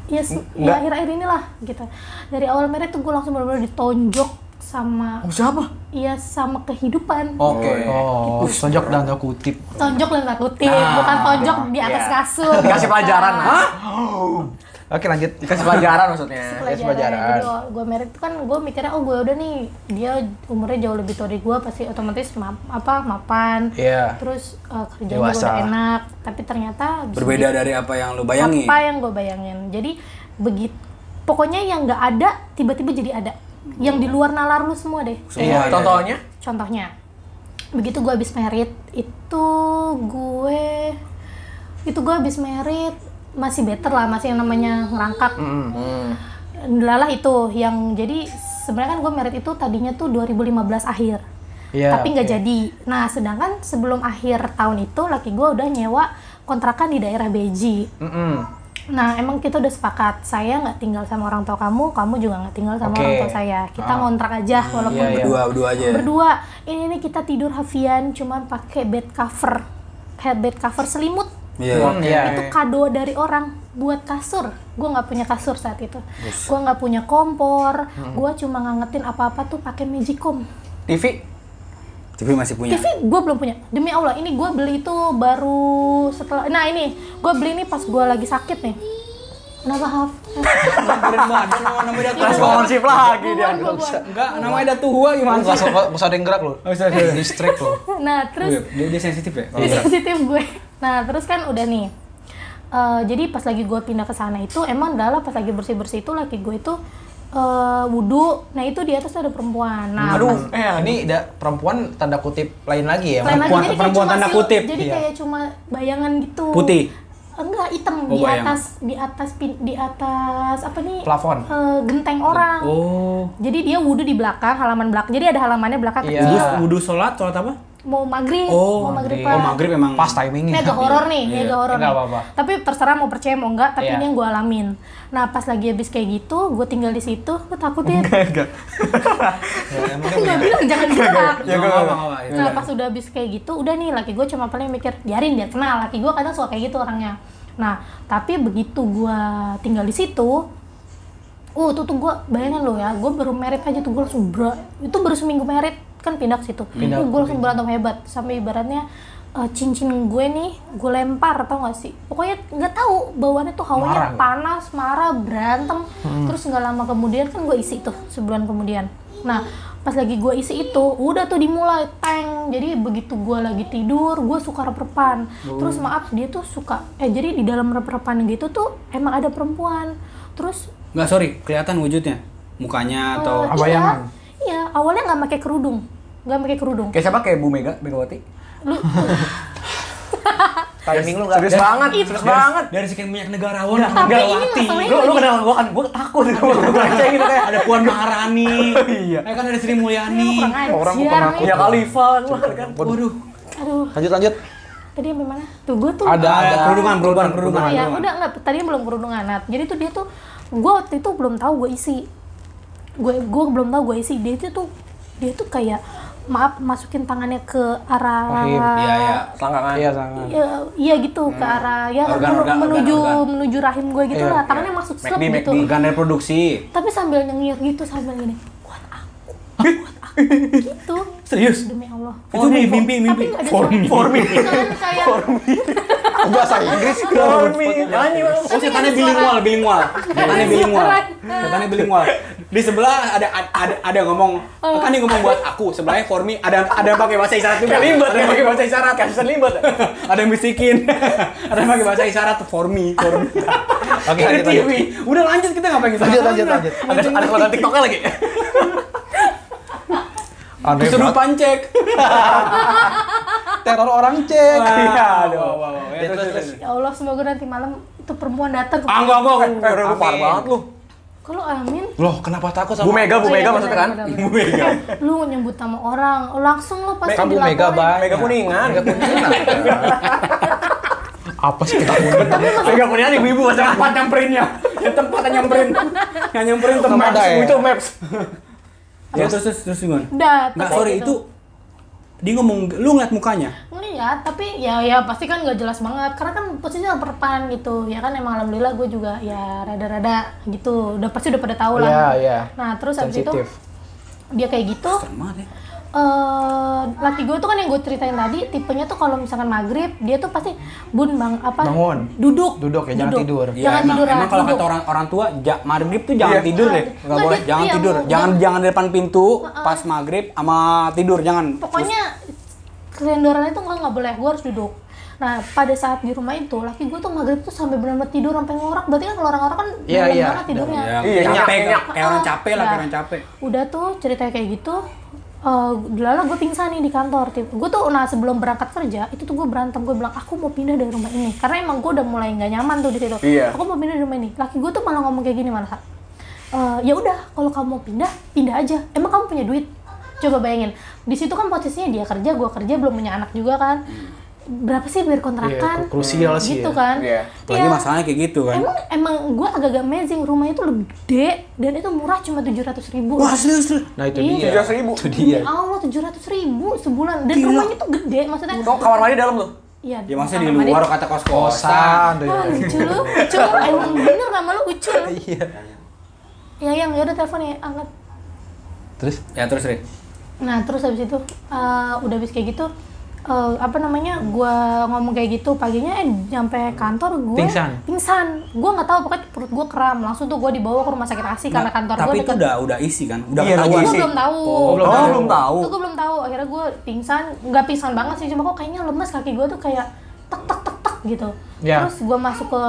Speaker 4: ya, se- ya akhir-akhir inilah gitu dari awal merit tuh gue langsung bener-bener ditonjok sama
Speaker 2: Oh, Siapa?
Speaker 4: ya sama kehidupan
Speaker 1: Oke. Oh,
Speaker 4: Gitu
Speaker 1: tonjok dan tanda kutip.
Speaker 4: tonjok dan takutin bukan tonjok di atas
Speaker 2: iya.
Speaker 4: kasur Nah.
Speaker 2: Dikasih Nah. pelajaran. Hah?
Speaker 1: Oke, lanjut.
Speaker 2: Dikasih pelajaran maksudnya.
Speaker 1: Yes,
Speaker 4: pelajaran.
Speaker 1: pelajaran.
Speaker 4: Jadi gue merit tuh kan gue mikirnya oh gue udah nih dia umurnya jauh lebih tua dari gue pasti otomatis ma- apa mapan.
Speaker 1: Iya.
Speaker 4: Terus uh, kerjaan gue
Speaker 1: Dewasa.
Speaker 4: udah enak. Tapi ternyata abis
Speaker 5: Berbeda
Speaker 4: begitu-
Speaker 5: dari apa yang lu bayangin.
Speaker 4: apa ya? yang gue bayangin. Jadi begitu pokoknya yang nggak ada tiba-tiba jadi ada. Yang di luar nalar lu semua deh.
Speaker 2: Iya, contohnya
Speaker 4: Contohnya begitu gue habis merit itu gue itu gue habis merit masih better lah masih yang namanya ngerangkak
Speaker 1: Mm-hmm.
Speaker 4: Lalah itu yang jadi sebenarnya kan gue merit itu tadinya tuh 2015 akhir.
Speaker 1: Iya,
Speaker 4: tapi nggak jadi. Nah, sedangkan sebelum akhir tahun itu laki gue udah nyewa kontrakan di daerah Beji. Nah, emang kita udah sepakat, saya nggak tinggal sama orang tua kamu, kamu juga nggak tinggal sama
Speaker 1: Oke.
Speaker 4: orang tua saya. Kita ngontrak aja walaupun
Speaker 1: iya, iya.
Speaker 5: Berdua, berdua aja. ya?
Speaker 4: berdua. Ini nih kita tidur Hafian cuman pakai bed cover. Kayak bed cover selimut
Speaker 5: Iya.
Speaker 1: Hmm, Iya.
Speaker 4: itu kado dari orang buat kasur gue nggak punya kasur saat itu gue nggak punya kompor gue cuma ngangetin apa apa tuh pakai magicom
Speaker 2: TV.
Speaker 5: Tapi masih punya.
Speaker 1: Iya.
Speaker 4: TV gue belum punya demi allah ini gue beli itu baru setelah nah ini gue beli ini pas gue lagi sakit nih kenapa Haf?
Speaker 2: Responsif lagi dia.
Speaker 4: Buruan, buruan.
Speaker 5: Enggak, namanya ada tua gimana?
Speaker 1: Enggak usah nggak usah ada yang gerak lu.
Speaker 5: Nggak usah ada yang gerak.
Speaker 1: Distrik lu.
Speaker 4: nah terus Iya.
Speaker 5: Dia, dia sensitif ya?
Speaker 3: Oh,
Speaker 4: Jadi
Speaker 3: iya.
Speaker 4: sensitif gue. Nah, terus kan udah nih. Eh, jadi pas lagi gue pindah ke sana itu emang adalah pas lagi bersih-bersih itu laki gue itu eh, wudhu nah itu di atas ada perempuan nah
Speaker 2: Aduh,
Speaker 4: pas-
Speaker 2: eh
Speaker 1: Ini
Speaker 2: ini
Speaker 1: da- perempuan tanda kutip lain lagi ya.
Speaker 4: Lain lagi,
Speaker 3: iya, perempuan-
Speaker 4: jadi kayak
Speaker 3: perempuan
Speaker 4: cuma
Speaker 3: tanda
Speaker 4: silu-
Speaker 3: kutip,
Speaker 4: Jadi
Speaker 3: iya.
Speaker 4: kayak cuma bayangan gitu.
Speaker 3: Putih.
Speaker 4: Enggak, hitam
Speaker 3: Oh,
Speaker 4: di
Speaker 3: bayangan.
Speaker 4: atas di atas pin- di atas apa nih?
Speaker 1: Plafon.
Speaker 4: Eh, genteng orang.
Speaker 3: Oh.
Speaker 4: Jadi dia wudhu di belakang, halaman belakang. Jadi ada halamannya belakang
Speaker 1: Iya.
Speaker 3: Wudhu,
Speaker 4: kecil.
Speaker 3: wudhu sholat, sholat apa?
Speaker 4: Mau maghrib,
Speaker 3: Oh,
Speaker 4: mau maghrib.
Speaker 3: Oh, maghrib emang
Speaker 1: Pas timingnya. Iya.
Speaker 4: Ini agak horor nih, ini agak horor
Speaker 1: Nggak
Speaker 4: nih.
Speaker 1: apa-apa.
Speaker 4: Tapi terserah mau percaya mau enggak, tapi
Speaker 1: Iya.
Speaker 4: ini yang gue alamin. Nah pas lagi habis kayak gitu, gue tinggal di situ, gue takut ya.
Speaker 1: Ya, emang
Speaker 4: Gue bilang jangan gerak.
Speaker 3: Ya,
Speaker 2: Iya, Nggak,
Speaker 3: nggak
Speaker 2: nggak,
Speaker 3: apa-apa, nggak apa-apa.
Speaker 4: Nah pas udah habis kayak gitu, udah nih laki gue cuma paling mikir biarin dia kenal. Laki gue kadang suka kayak gitu orangnya. Nah tapi begitu gue tinggal di situ, uh tuh tuh gue bayangin lo ya, gue baru merit aja tuh gue langsung bra, itu baru seminggu merit kan pindah ke situ.
Speaker 1: Pindah,
Speaker 4: gue langsung berantem hebat sampai ibaratnya eh, cincin gue nih gue lempar tau gak sih pokoknya nggak tahu bawaannya tuh hawanya
Speaker 1: Marah. Hmm.
Speaker 4: panas marah berantem terus nggak lama kemudian kan gue isi tuh sebulan kemudian nah pas lagi gue isi itu udah tuh dimulai tank jadi begitu gue lagi tidur gue suka rep-repan
Speaker 1: Oh.
Speaker 4: terus maaf dia tuh suka eh jadi di dalam rep-repan gitu tuh emang ada perempuan terus
Speaker 3: Nggak, sorry, kelihatan wujudnya. Mukanya atau
Speaker 4: eh, iya,
Speaker 2: bayangan?
Speaker 4: iya awalnya nggak pakai kerudung nggak pakai kerudung
Speaker 2: kayak siapa kayak Bu Mega, Megawati.
Speaker 1: timing lu enggak
Speaker 2: Serius
Speaker 4: Iya.
Speaker 2: banget, serius banget.
Speaker 3: dari sekian banyak negarawan
Speaker 4: Tapi ini
Speaker 3: Megawati.
Speaker 4: masalahnya-
Speaker 2: Lu lu kenal gua kan gua takut sama gua kayak gitu kayak
Speaker 3: ada Puan Maharani.
Speaker 2: [laughs] Iya.
Speaker 3: Eh, kan ada Sri Mulyani.
Speaker 4: kurang ajar
Speaker 1: orang bukan aku.
Speaker 4: nih.
Speaker 2: punya Khalifa lu kan.
Speaker 3: Waduh.
Speaker 4: aduh
Speaker 1: Lanjut lanjut.
Speaker 4: tadi sampai mana tuh gue tuh
Speaker 1: Ada
Speaker 3: Ada
Speaker 1: ada
Speaker 3: kerudungan, kerudungan, kerudungan.
Speaker 4: ya
Speaker 3: kerudungan.
Speaker 4: udah nggak tadi belum kerudungan Nat. jadi tuh dia tuh gue waktu itu belum tahu gue isi gue gue belum tahu gue isi dia itu tuh dia tuh kayak maaf masukin tangannya ke arah
Speaker 1: Rahim,
Speaker 3: Iya, iya.
Speaker 2: Selangkangan.
Speaker 1: Iya sangat.
Speaker 4: Ya, iya gitu ke arah ya
Speaker 3: Organ,
Speaker 4: menu-
Speaker 3: organ,
Speaker 4: menuju
Speaker 3: organ, organ.
Speaker 4: menuju rahim gue gitu
Speaker 1: Iya,
Speaker 4: lah tangannya masuk slep
Speaker 2: McD,
Speaker 4: gitu
Speaker 2: McD.
Speaker 3: Organ reproduksi.
Speaker 4: tapi sambil nyengir gitu sambil gini kuat aku kuat aku gitu
Speaker 3: Serius?
Speaker 4: demi Allah
Speaker 3: Itu mimpi, mimpi,
Speaker 4: tapi
Speaker 3: mimpi.
Speaker 4: nggak ada
Speaker 3: For me.
Speaker 4: suara Bukan, kayak
Speaker 3: [laughs]
Speaker 1: Oh, Bahasa Inggris.
Speaker 2: Nyanyi Bang.
Speaker 3: Oh, setannya bilingual, bilingual. Setannya bilingual. Setannya bilingual. Di sebelah ada ada ada ngomong, kan dia ngomong buat aku. Sebelahnya for me ada ada yang pakai bahasa isyarat juga.
Speaker 2: Kayak limbat,
Speaker 3: Ada yang pakai bahasa isyarat.
Speaker 2: isyarat, kasus limbat.
Speaker 3: Ada yang bisikin. Ada yang pakai bahasa isyarat for me, for me.
Speaker 1: Oke,
Speaker 3: Ada
Speaker 1: lanjut,
Speaker 3: TV. Udah lanjut kita ngapain kita?
Speaker 1: Lanjut, lanjut, lanjut.
Speaker 2: Ada ada konten TikToknya lagi.
Speaker 1: [laughs] Aneh
Speaker 3: Disuruh
Speaker 1: banget.
Speaker 3: pancek.
Speaker 1: teror orang cek.
Speaker 3: Iya, aduh.
Speaker 1: Ya, terus, terus.
Speaker 4: ya Allah semoga nanti malam itu perempuan datang ke-
Speaker 3: Ah, enggak, enggak, enggak.
Speaker 2: Eh, lu parah
Speaker 1: Amin.
Speaker 2: banget lu.
Speaker 4: kalau amin
Speaker 1: Loh, kenapa takut sama
Speaker 2: Bu Mega, Bu
Speaker 4: Oh, iya,
Speaker 2: Mega
Speaker 4: benar,
Speaker 2: maksudnya kan?
Speaker 4: benar, benar.
Speaker 2: Bu Mega.
Speaker 4: lu nyebut nama orang langsung lu pasti
Speaker 1: Kan Bu
Speaker 4: dilaporin
Speaker 1: Mega banyak.
Speaker 2: Mega kuningan.
Speaker 1: Mega kuningan. [laughs] Apa sih kita
Speaker 2: Mega kuningan ibu-ibu maksudnya.
Speaker 3: Tempat nyamperinnya. Ya tempat yang nyamperin. Yang nyamperin tuh
Speaker 1: Sama
Speaker 3: Maps.
Speaker 1: ada ya?
Speaker 3: Itu Maps. Ya terus terus terus gimana?
Speaker 4: udah
Speaker 3: Enggak,
Speaker 4: tetap
Speaker 3: Nah, sorry
Speaker 4: gitu.
Speaker 3: itu dia ngomong lu ngeliat mukanya.
Speaker 4: ngeliat tapi ya ya pasti kan nggak jelas banget karena kan posisinya perpan gitu ya kan emang alhamdulillah gue juga ya rada-rada gitu udah pasti udah pada tahu lah
Speaker 1: Iya, iya.
Speaker 4: nah terus habis itu
Speaker 1: Sensitif.
Speaker 4: dia kayak gitu
Speaker 3: Sama deh.
Speaker 4: eh laki gue tuh kan yang gue ceritain tadi tipenya tuh kalau misalkan maghrib dia tuh pasti bun bang apa
Speaker 1: Bangun.
Speaker 4: duduk
Speaker 1: Duduk ya, jangan tidur.
Speaker 4: jangan
Speaker 3: Ya, emang,
Speaker 4: tidur
Speaker 3: emang kalau kata
Speaker 4: duduk.
Speaker 3: orang orang tua ja, maghrib tuh jangan
Speaker 2: Iya.
Speaker 3: tidur deh.
Speaker 4: Nggak,
Speaker 3: Enggak boleh,
Speaker 4: dia-
Speaker 3: jangan
Speaker 4: iya,
Speaker 3: tidur.
Speaker 4: mau-
Speaker 3: Jangan jangan di depan pintu
Speaker 4: Heeh.
Speaker 3: pas maghrib sama tidur jangan.
Speaker 4: pokoknya kelendoran itu gue nggak boleh gue harus duduk nah pada saat di rumah itu laki gue tuh maghrib tuh sampai benar-benar tidur sampai ngorak berarti kan kalau orang-orang kan
Speaker 1: Iya,
Speaker 4: malam
Speaker 1: iya.
Speaker 4: banget tidurnya
Speaker 3: Ya,
Speaker 2: Iya,
Speaker 3: capek
Speaker 2: nyak,
Speaker 3: kayak- kayak orang
Speaker 4: Ah,
Speaker 3: capek lah, kayak
Speaker 4: udah.
Speaker 3: orang capek.
Speaker 4: udah tuh ceritanya kayak gitu eh lala gue pingsan nih di kantor tim gue tuh nah sebelum berangkat kerja itu tuh gue berantem gue bilang aku mau pindah dari rumah ini karena emang gue udah mulai nggak nyaman tuh di situ
Speaker 2: Iya.
Speaker 4: aku mau pindah dari rumah ini laki gue tuh malah ngomong kayak gini malah "Eh, ya udah kalau kamu mau pindah pindah aja emang kamu punya duit coba bayangin di situ kan posisinya dia kerja gue kerja belum punya anak juga kan berapa sih biar
Speaker 1: Iya,
Speaker 4: kontrakan
Speaker 1: krusial sih
Speaker 4: gitu
Speaker 1: ya.
Speaker 4: kan
Speaker 2: Iya.
Speaker 3: Lagi
Speaker 4: Iya.
Speaker 3: masalahnya kayak gitu kan.
Speaker 4: Emang emang gue agak-agak amazing rumahnya itu lebih gede dan itu murah cuma tujuh ratus ribu.
Speaker 3: Wah, serius serius.
Speaker 1: Nah, itu
Speaker 4: Iya.
Speaker 1: dia.
Speaker 2: 700 ribu.
Speaker 1: Itu dia.
Speaker 4: Allah tujuh ratus ribu sebulan dan
Speaker 3: Gila.
Speaker 4: rumahnya tuh gede maksudnya.
Speaker 2: Tuh kamar mandi dalam lu.
Speaker 4: Iya.
Speaker 3: Ya maksudnya di
Speaker 4: kamar mandi.
Speaker 3: luar kata kos-kosan.
Speaker 1: Kosan tuh ya.
Speaker 4: Ah, lucu lu, lucu
Speaker 3: [laughs]
Speaker 4: lu. emang bener nama lu lucu. lu.
Speaker 1: Iya.
Speaker 4: Ya yang ya udah telepon ya angkat.
Speaker 1: Terus
Speaker 3: Ya terus deh.
Speaker 4: Nah terus habis itu eh, udah habis kayak gitu eh, apa namanya gua ngomong kayak gitu paginya eh nyampe kantor gue
Speaker 1: Pingsan.
Speaker 4: pingsan gue nggak tahu pokoknya perut gue kram langsung tuh gue dibawa ke rumah sakit ASI karena kantor gue
Speaker 3: Nah, Tapi itu udah udah isi kan? Udah
Speaker 2: Iya,
Speaker 3: ketahuan.
Speaker 4: gue
Speaker 2: isi.
Speaker 4: belum tahu
Speaker 2: Oh,
Speaker 1: belum tahu.
Speaker 2: belum tahu.
Speaker 4: itu gue belum tahu akhirnya gue pingsan nggak pingsan banget sih cuma kok kayaknya lemes kaki gue tuh kayak tek tek tek tek gitu
Speaker 1: Ya.
Speaker 4: terus gue masuk ke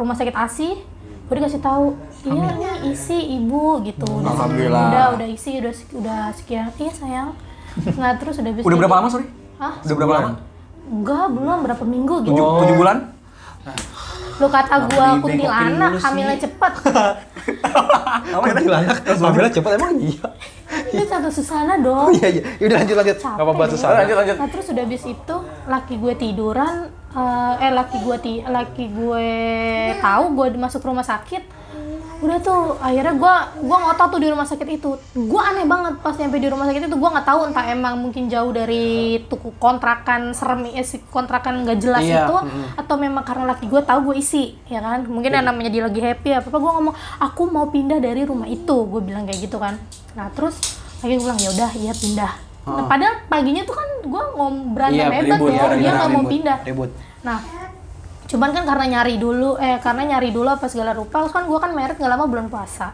Speaker 4: rumah sakit asi gue dikasih tahu iya nih isi ibu gitu udah
Speaker 2: Alhamdulillah.
Speaker 4: udah udah isi udah sek- udah sekian iya sayang nah terus udah bisa
Speaker 2: Udah berapa lama sorry?
Speaker 4: Hah?
Speaker 2: Udah berapa lama?
Speaker 4: enggak belum berapa minggu gitu
Speaker 2: Tujuh, tujuh bulan?
Speaker 4: lu kata gua
Speaker 3: dibengkokin
Speaker 4: kuntilanak
Speaker 3: dulu sih?
Speaker 4: hamilnya cepet [laughs]
Speaker 2: ya?
Speaker 1: Kuntilanak, Ambilnya cepet emang iya.
Speaker 4: itu satu susana dong
Speaker 1: Iya iya, Ya udah lanjut lanjut.
Speaker 4: Capek
Speaker 1: Gak apa-apa
Speaker 4: deh.
Speaker 1: susah.
Speaker 2: Lanjut lanjut.
Speaker 4: Nah terus udah habis itu laki gue tiduran, eh, eh laki gue ti, laki gue tahu gue masuk rumah sakit. Udah tuh akhirnya gue gua ngotot tuh di rumah sakit itu. Gue aneh banget pas nyampe di rumah sakit itu gue nggak tahu entah emang mungkin jauh dari tuku kontrakan serem eh, si kontrakan nggak jelas
Speaker 1: Iya,
Speaker 4: itu atau memang karena laki gue tahu gue isi ya kan mungkin
Speaker 2: Iya.
Speaker 4: yang namanya dia lagi happy apa apa gue ngomong aku mau pindah dari rumah itu gue bilang kayak gitu kan nah terus lagi gue bilang ya udah iya pindah Nah, padahal paginya tuh kan gue ngom berantem
Speaker 1: Iya,
Speaker 4: hebat
Speaker 1: ribut,
Speaker 4: ya
Speaker 1: gara-gara
Speaker 4: dia nggak mau
Speaker 1: ribut.
Speaker 4: pindah
Speaker 1: Ribut.
Speaker 4: nah cuman kan karena nyari dulu eh karena nyari dulu apa segala rupa terus kan gue kan merit nggak lama bulan puasa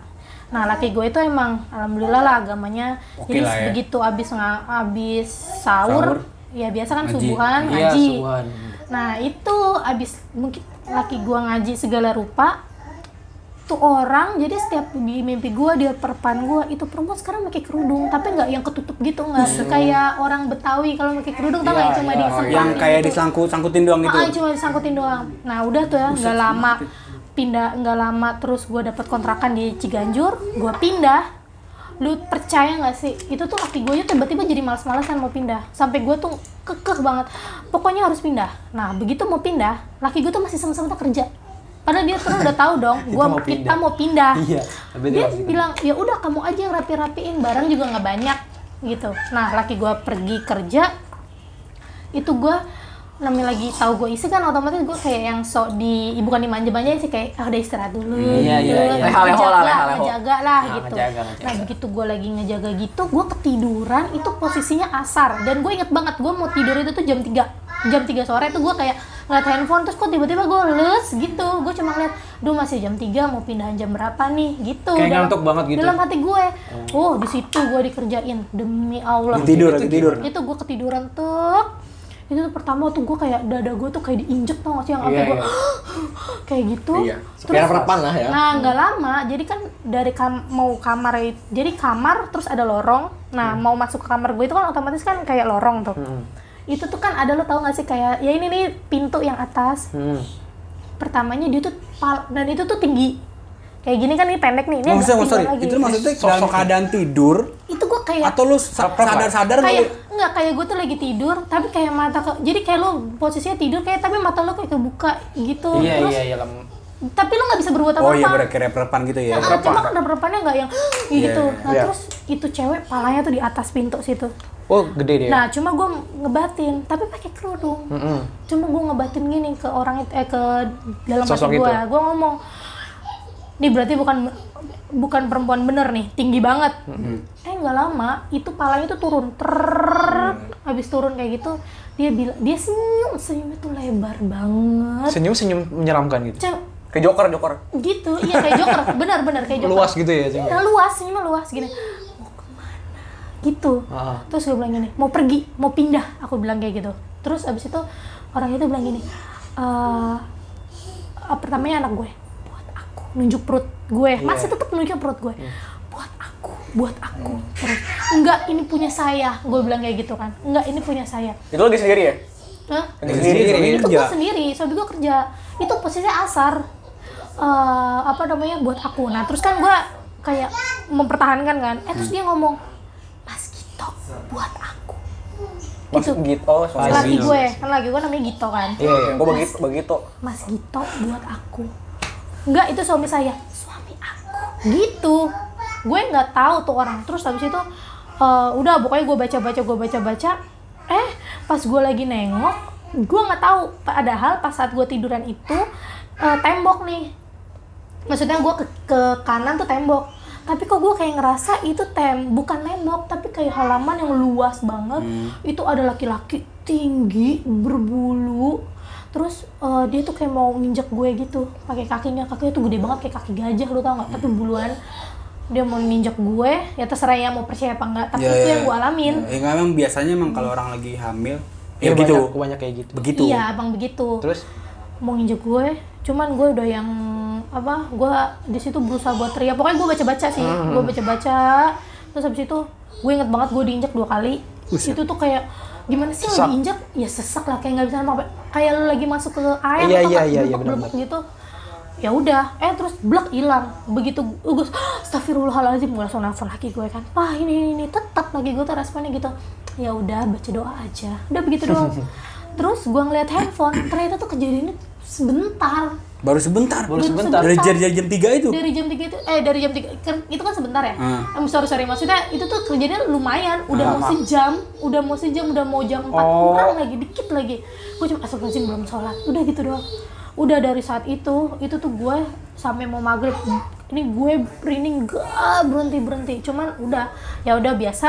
Speaker 4: nah laki gue itu emang alhamdulillah lah agamanya
Speaker 3: Oke
Speaker 4: jadi
Speaker 3: lah ya.
Speaker 4: begitu abis nga, abis sahur,
Speaker 3: Sahur.
Speaker 4: ya biasa kan
Speaker 3: Ngaji.
Speaker 4: subuhan
Speaker 1: Iya,
Speaker 4: ngaji
Speaker 1: subuhan.
Speaker 4: nah itu abis mungkin laki gue ngaji segala rupa tuh orang jadi setiap di mimpi gue di perpan gue itu perempuan sekarang pakai kerudung tapi nggak yang ketutup gitu nggak
Speaker 3: Iya.
Speaker 4: kayak orang Betawi kalau pakai kerudung tau nggak yang cuma disemprot
Speaker 2: Iya.
Speaker 3: Yang kayak
Speaker 4: gitu.
Speaker 3: disangkut sangkutin doang gitu.
Speaker 4: Ah, cuma disangkutin doang. Nah, udah tuh ya, nggak lama pindah nggak lama terus gue dapet kontrakan di Ciganjur, gue pindah. Lu percaya nggak sih? Itu tuh laki gue tiba-tiba jadi males-malesan mau pindah. Sampai gue tuh kekeh banget. Pokoknya harus pindah. Nah, begitu mau pindah, laki gue tuh masih sama-sama kerja. Padahal dia terus udah tahu
Speaker 1: [laughs]
Speaker 4: dong, gua
Speaker 1: mau
Speaker 4: kita
Speaker 1: pindah.
Speaker 4: mau pindah.
Speaker 1: Iya, tapi dia
Speaker 4: dia
Speaker 1: masih-
Speaker 4: bilang ya udah kamu aja yang rapi-rapiin, barang juga nggak banyak gitu. Nah, laki gue pergi kerja, itu gue namanya lagi tahu gue isi kan otomatis gue kayak yang sok di bukan dimanja-manjain sih kayak ah, udah istirahat dulu
Speaker 1: Iya, iya,
Speaker 4: dulu,
Speaker 1: iya.
Speaker 2: Leha-leho
Speaker 4: ngejaga,
Speaker 2: lah, leha-leho.
Speaker 4: ngejaga lah
Speaker 1: Nah,
Speaker 4: gitu
Speaker 1: ngejaga, ngejaga.
Speaker 4: nah begitu gue lagi ngejaga gitu gue ketiduran itu posisinya asar dan gue inget banget gue mau tidur itu tuh jam 3 jam 3 sore tuh gue kayak ngeliat handphone terus kok tiba-tiba gue les gitu gue cuma ngeliat duh masih jam 3 mau pindahan jam berapa nih gitu
Speaker 1: Kayak
Speaker 4: Dalam-
Speaker 1: ngantuk banget gitu.
Speaker 4: dalam hati gue oh di situ gue dikerjain demi Allah
Speaker 3: Tidur, tidur.
Speaker 4: itu gue ketiduran tuh itu tuh pertama tuh gue kayak dada gue tuh kayak diinjek tau gak sih yang apa
Speaker 2: Iya,
Speaker 4: gue
Speaker 2: iya.
Speaker 4: [gasps] kayak gitu
Speaker 2: Iya. Biar perapan lah ya.
Speaker 4: nah nggak lama jadi kan dari kam- mau kamar it- jadi kamar terus ada lorong nah mau masuk ke kamar gue itu kan otomatis kan kayak lorong tuh itu tuh kan ada lo tau gak sih kayak ya ini nih pintu yang atas pertamanya dia tuh pal- dan itu tuh tinggi kayak gini kan ini pendek nih ini
Speaker 3: Oh,
Speaker 4: agak
Speaker 3: sorry,
Speaker 4: tinggi
Speaker 3: sorry.
Speaker 4: lagi
Speaker 3: Itu maksudnya dalam keadaan
Speaker 2: gitu.
Speaker 3: tidur
Speaker 4: itu gue kayak
Speaker 3: atau lu sa- sadar-sadar lu
Speaker 4: kayak nggak kayak gue tuh lagi tidur tapi kayak mata ke, jadi kayak lo posisinya tidur kayak tapi mata lo kayak kebuka gitu
Speaker 1: Iya
Speaker 4: terus
Speaker 1: iya iya lem.
Speaker 4: tapi lo nggak bisa berbuat apa-apa
Speaker 3: Oh iya bener kayak repan gitu ya.
Speaker 4: Nah, ada cuma kan berapanya nggak yang gitu
Speaker 3: iya,
Speaker 4: nah
Speaker 2: iya.
Speaker 4: terus itu cewek palanya tuh di atas pintu situ
Speaker 1: Oh, gede dia.
Speaker 4: nah cuma gue ngebatin tapi pakai kerudung cuma gue ngebatin gini ke orang itu eh ke dalam
Speaker 1: Sosok
Speaker 4: hati
Speaker 1: itu.
Speaker 4: gue gue ngomong ini berarti bukan bukan perempuan bener nih tinggi banget eh nggak lama itu palanya tuh turun ter habis turun kayak gitu dia bilang dia senyum senyumnya tuh lebar banget
Speaker 1: Senyum-senyum menyeramkan gitu.
Speaker 4: Ce-
Speaker 2: Kayak joker, joker.
Speaker 4: gitu iya kayak joker benar-benar kayak joker
Speaker 1: Luas gitu ya, senyum.
Speaker 4: Nah, luas ini mah luas gini mau kemana gitu
Speaker 1: Ah.
Speaker 4: terus gue bilang gini mau pergi mau pindah aku bilang kayak gitu terus abis itu orang itu bilang gini eh eh, pertamanya anak gue buat aku nunjuk perut gue masih tetap nunjuk perut gue buat aku buat aku terus enggak ini punya saya gue bilang kayak gitu kan enggak ini punya saya
Speaker 2: Itu lagi sendiri ya?
Speaker 4: Hah?
Speaker 2: Lagi sendiri.
Speaker 4: itu
Speaker 3: Ini
Speaker 4: gue
Speaker 3: kerja.
Speaker 4: sendiri suami gue kerja itu posisinya asar eh, apa namanya buat aku nah terus kan gue kayak mempertahankan kan eh terus dia ngomong mas Gito buat aku
Speaker 2: Mas
Speaker 4: Itu.
Speaker 2: gitu. Oh, sorry.
Speaker 4: lagi gue kan lagi gue namanya Gito kan
Speaker 2: Iya, iya. Gue begitu, begitu.
Speaker 4: mas Gito buat aku enggak itu suami saya suami aku gitu gue nggak tahu tuh orang terus habis itu eh, udah pokoknya gue baca baca gue baca baca eh pas gue lagi nengok gue nggak tahu padahal pas saat gue tiduran itu eh, tembok nih maksudnya gue ke, ke kanan tuh tembok tapi kok gue kayak ngerasa itu tem bukan tembok tapi kayak halaman yang luas banget
Speaker 3: Hmm.
Speaker 4: itu ada laki-laki tinggi berbulu terus eh, dia tuh kayak mau nginjek gue gitu pakai kakinya kakinya tuh gede banget kayak kaki gajah lu tau nggak tapi
Speaker 3: Hmm.
Speaker 4: buluan dia mau nginjek gue ya terserah ya mau percaya apa enggak tapi
Speaker 3: Iya,
Speaker 4: itu
Speaker 3: iya.
Speaker 4: yang gue alamin
Speaker 3: Ya nggak, emang biasanya emang kalau orang lagi hamil
Speaker 1: Iya,
Speaker 3: ya
Speaker 1: Banyak,
Speaker 3: gitu.
Speaker 1: banyak kayak gitu.
Speaker 3: Begitu.
Speaker 4: iya abang Iya, begitu
Speaker 1: Terus
Speaker 4: mau nginjek gue cuman gue udah yang apa gue di situ berusaha buat teriak pokoknya gue baca baca sih
Speaker 6: Ah,
Speaker 4: gue baca baca terus habis itu gue inget banget gue diinjak dua kali itu tuh kayak gimana sih lo
Speaker 6: Sesak.
Speaker 4: diinjak ya sesak lah kayak nggak bisa apa kayak lo lagi masuk ke air
Speaker 6: Iya, iya,
Speaker 4: atau nggak
Speaker 6: iya, iya,
Speaker 4: blebek-
Speaker 6: benar,
Speaker 4: blebek gitu ya udah eh terus blek hilang begitu gue astagfirullahaladzim gue langsung nelfon laki gue kan ah ini ini, ini. tetap lagi gue tuh responnya gitu ya udah baca doa aja udah begitu doang terus gue ngeliat handphone ternyata tuh kejadiannya sebentar
Speaker 3: Baru sebentar.
Speaker 1: Baru
Speaker 4: Baru
Speaker 1: sebentar.
Speaker 3: Dari jam dari jam 3 itu.
Speaker 4: dari jam 3 itu eh dari jam 3 kan- itu kan sebentar ya
Speaker 3: Hmm.
Speaker 4: Em, sorry sorry maksudnya itu tuh kerjanya lumayan udah mau sejam udah mau sejam udah mau jam 4 kurang lagi dikit lagi gue cuma astagfirullahaladzim belum sholat udah gitu doang udah dari saat itu itu tuh gue sampai mau maghrib ini gue rinding gak berhenti berhenti cuman udah ya udah biasa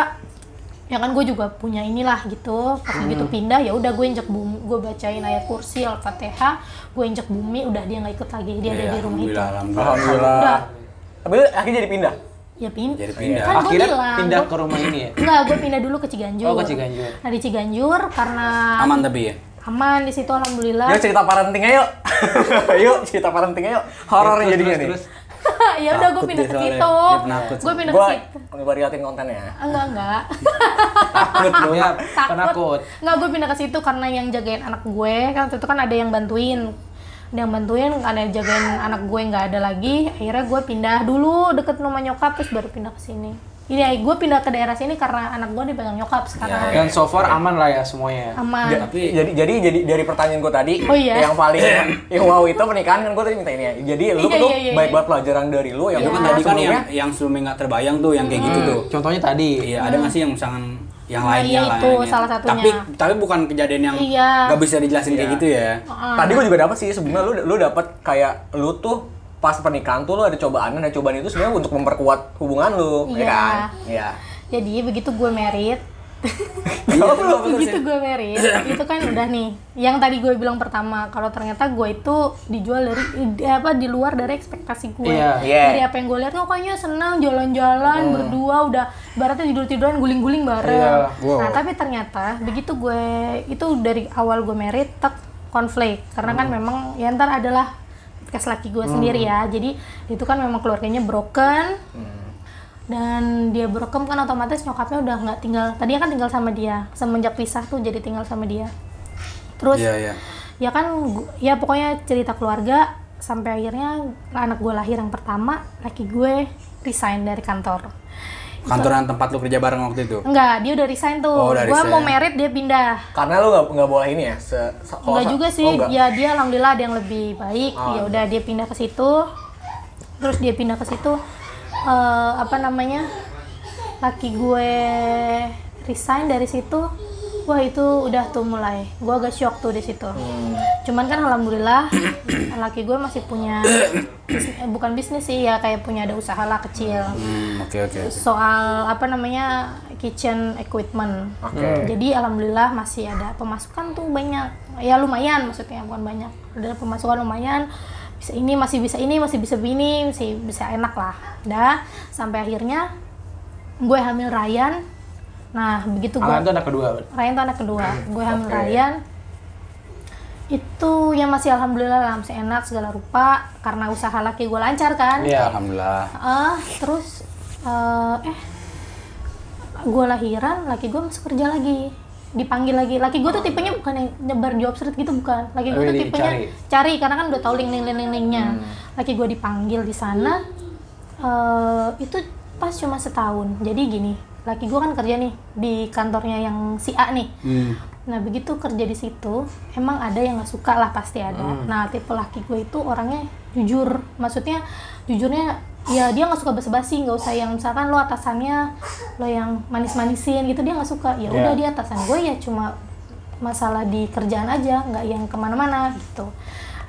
Speaker 4: ya kan gue juga punya inilah gitu pas begitu pindah ya udah gue injek bumi gue bacain ayat kursi al-fatihah gue injek bumi udah dia nggak ikut lagi Iya, dia ada di rumah itu
Speaker 3: Iya, Alhamdulillah, alhamdulillah.
Speaker 4: Udah.
Speaker 2: Alhamdulillah. Tapi lu akhirnya jadi pindah.
Speaker 4: Ya pindah.
Speaker 3: Jadi pindah.
Speaker 4: Kan
Speaker 1: Oh,
Speaker 4: gue
Speaker 1: Akhirnya
Speaker 4: bilang.
Speaker 1: pindah
Speaker 4: gua-
Speaker 1: ke rumah ini ya.
Speaker 4: Enggak, gue pindah dulu ke Ciganjur.
Speaker 1: Oh, ke Ciganjur.
Speaker 4: Nah, di Ciganjur karena
Speaker 3: Aman tapi ya.
Speaker 4: aman di situ alhamdulillah.
Speaker 1: Ya.
Speaker 2: Yuk cerita parenting yuk. [laughs] yuk cerita parenting yuk. Horor
Speaker 1: Terus,
Speaker 2: nih jadinya
Speaker 1: terus,
Speaker 2: nih.
Speaker 1: terus.
Speaker 4: [laughs] ya udah gue
Speaker 3: Takut
Speaker 4: pindah
Speaker 3: dia
Speaker 4: ke
Speaker 3: soalnya.
Speaker 4: situ.
Speaker 3: Dia penakut.
Speaker 4: Gue pindah ke
Speaker 2: Gua
Speaker 4: situ.
Speaker 2: gua liatin kontennya.
Speaker 4: Enggak, enggak.
Speaker 1: [laughs] Takut lu
Speaker 3: Iya.
Speaker 1: ya, penakut.
Speaker 4: Takut. Enggak, gue pindah ke situ karena yang jagain anak gue kan waktu itu kan ada yang bantuin. Ada yang bantuin, ada yang jagain anak gue nggak ada lagi. Akhirnya gue pindah dulu deket rumah nyokap terus baru pindah ke sini. Ini gue pindah ke daerah sini karena anak gue dipegang nyokap sekarang.
Speaker 1: Dan so far aman lah ya semuanya.
Speaker 4: Aman.
Speaker 2: Ja- jadi jadi jadi dari pertanyaan gue tadi
Speaker 4: Ah. Oh, iya.
Speaker 2: yang
Speaker 4: [clears throat]
Speaker 2: paling yang wow itu pernikahan kan gue tadi minta ini ya. Jadi lu
Speaker 4: Iya,
Speaker 2: tuh
Speaker 4: iya, iya,
Speaker 2: baik
Speaker 4: iya.
Speaker 2: banget pelajaran dari lu yang
Speaker 3: Itu
Speaker 2: lu
Speaker 3: kan tadi kan yang yang sebelumnya nggak terbayang tuh yang kayak gitu tuh.
Speaker 1: Contohnya tadi.
Speaker 3: Iya, ada nggak sih yang misalkan yang
Speaker 4: Hmm. Nah,
Speaker 3: lainnya
Speaker 4: iya,
Speaker 3: lah,
Speaker 4: itu
Speaker 3: yang lainnya.
Speaker 4: salah satunya.
Speaker 3: Tapi tapi bukan kejadian yang
Speaker 4: Iya.
Speaker 3: nggak bisa dijelasin kayak gitu ya.
Speaker 2: Tadi gue juga dapat sih sebelumnya lu lu dapat kayak lu tuh pas pernikahan tuh lu ada cobaan dan cobaan itu sebenarnya untuk memperkuat hubungan lu, ya
Speaker 4: [laughs] Iya.
Speaker 2: kan? Iya.
Speaker 4: Jadi begitu gue merit,
Speaker 2: Jawab lu, apa
Speaker 4: begitu
Speaker 2: sih?
Speaker 4: Gitu gue merit, itu kan udah nih. Yang tadi gue bilang pertama, kalau ternyata gue itu dijual dari di- apa di luar dari ekspektasi gue.
Speaker 1: Iya.
Speaker 2: Iya. Hmm.
Speaker 4: Dari apa yang gue lihat pokoknya senang jalan-jalan berdua udah baratnya tidur-tiduran guling-guling bareng.
Speaker 1: Iya.
Speaker 4: Nah, tapi ternyata begitu gue itu dari awal gue merit tak konflik karena
Speaker 2: Hmm.
Speaker 4: kan memang ya ntar adalah kes laki gue sendiri ya. Jadi itu kan memang keluarganya broken. dan dia broken kan otomatis nyokapnya udah nggak tinggal tadinya kan tinggal sama dia semenjak pisah tuh jadi tinggal sama dia terus
Speaker 3: Iya, iya.
Speaker 4: ya kan gu- ya pokoknya cerita keluarga sampai akhirnya anak gue lahir yang pertama laki gue resign dari kantor
Speaker 3: Kantoran tempat lu kerja bareng waktu itu.
Speaker 4: enggak dia udah resign tuh
Speaker 3: Oh, udah
Speaker 4: gue
Speaker 3: resign.
Speaker 4: mau merit dia pindah
Speaker 2: Karena lu nggak nggak boleh ini ya. Se, se- kalau
Speaker 4: Enggak
Speaker 2: sa-
Speaker 4: juga sih,
Speaker 2: oh, nggak.
Speaker 4: ya dia alhamdulillah ada yang lebih baik.
Speaker 2: Oh,
Speaker 4: ya udah dia pindah ke situ. Terus dia pindah ke situ eh, apa namanya? Laki gue resign dari situ. Wah, itu udah tuh mulai. Gue agak shock tuh di situ.
Speaker 2: Hmm.
Speaker 4: Cuman kan alhamdulillah laki gue masih punya bisnis- eh, bukan bisnis sih ya kayak punya ada usaha lah kecil
Speaker 3: Hmm, oke oke.
Speaker 4: soal apa namanya kitchen equipment. Jadi alhamdulillah masih ada pemasukan tuh banyak. Ya lumayan maksudnya bukan banyak. Ada pemasukan lumayan. Bisa ini masih bisa ini masih bisa begini masih bisa enak lah. Dah sampai akhirnya gue hamil Ryan. Nah begitu gue
Speaker 1: Anak itu anak kedua.
Speaker 4: Ryan tuh anak kedua. Gue hamil Ryan. Itu yang masih alhamdulillah lah masih enak segala rupa karena usaha laki gue lancar kan.
Speaker 1: Iya.
Speaker 3: Alhamdulillah.
Speaker 4: Ah, terus eh, eh gue lahiran, laki gue masuk kerja lagi. Dipanggil lagi. Laki gue tuh tipenya bukan yang nyebar job street gitu bukan. Laki gue tuh
Speaker 1: Tapi
Speaker 4: tipenya
Speaker 1: dicari.
Speaker 4: cari. karena kan udah tahu link link link link- linknya. Laki gue dipanggil di sana eh itu pas cuma setahun. Jadi gini, laki gue kan kerja nih di kantornya yang si A nih.
Speaker 3: Hmm.
Speaker 4: Nah begitu kerja di situ, emang ada yang nggak suka lah pasti ada. Nah tipe laki gue itu orangnya jujur, maksudnya jujurnya ya dia nggak suka basa-basi, nggak usah yang misalkan lo atasannya lo yang manis-manisin gitu dia nggak suka. Ya udah dia atasan gue ya cuma masalah di kerjaan aja, nggak yang kemana-mana gitu.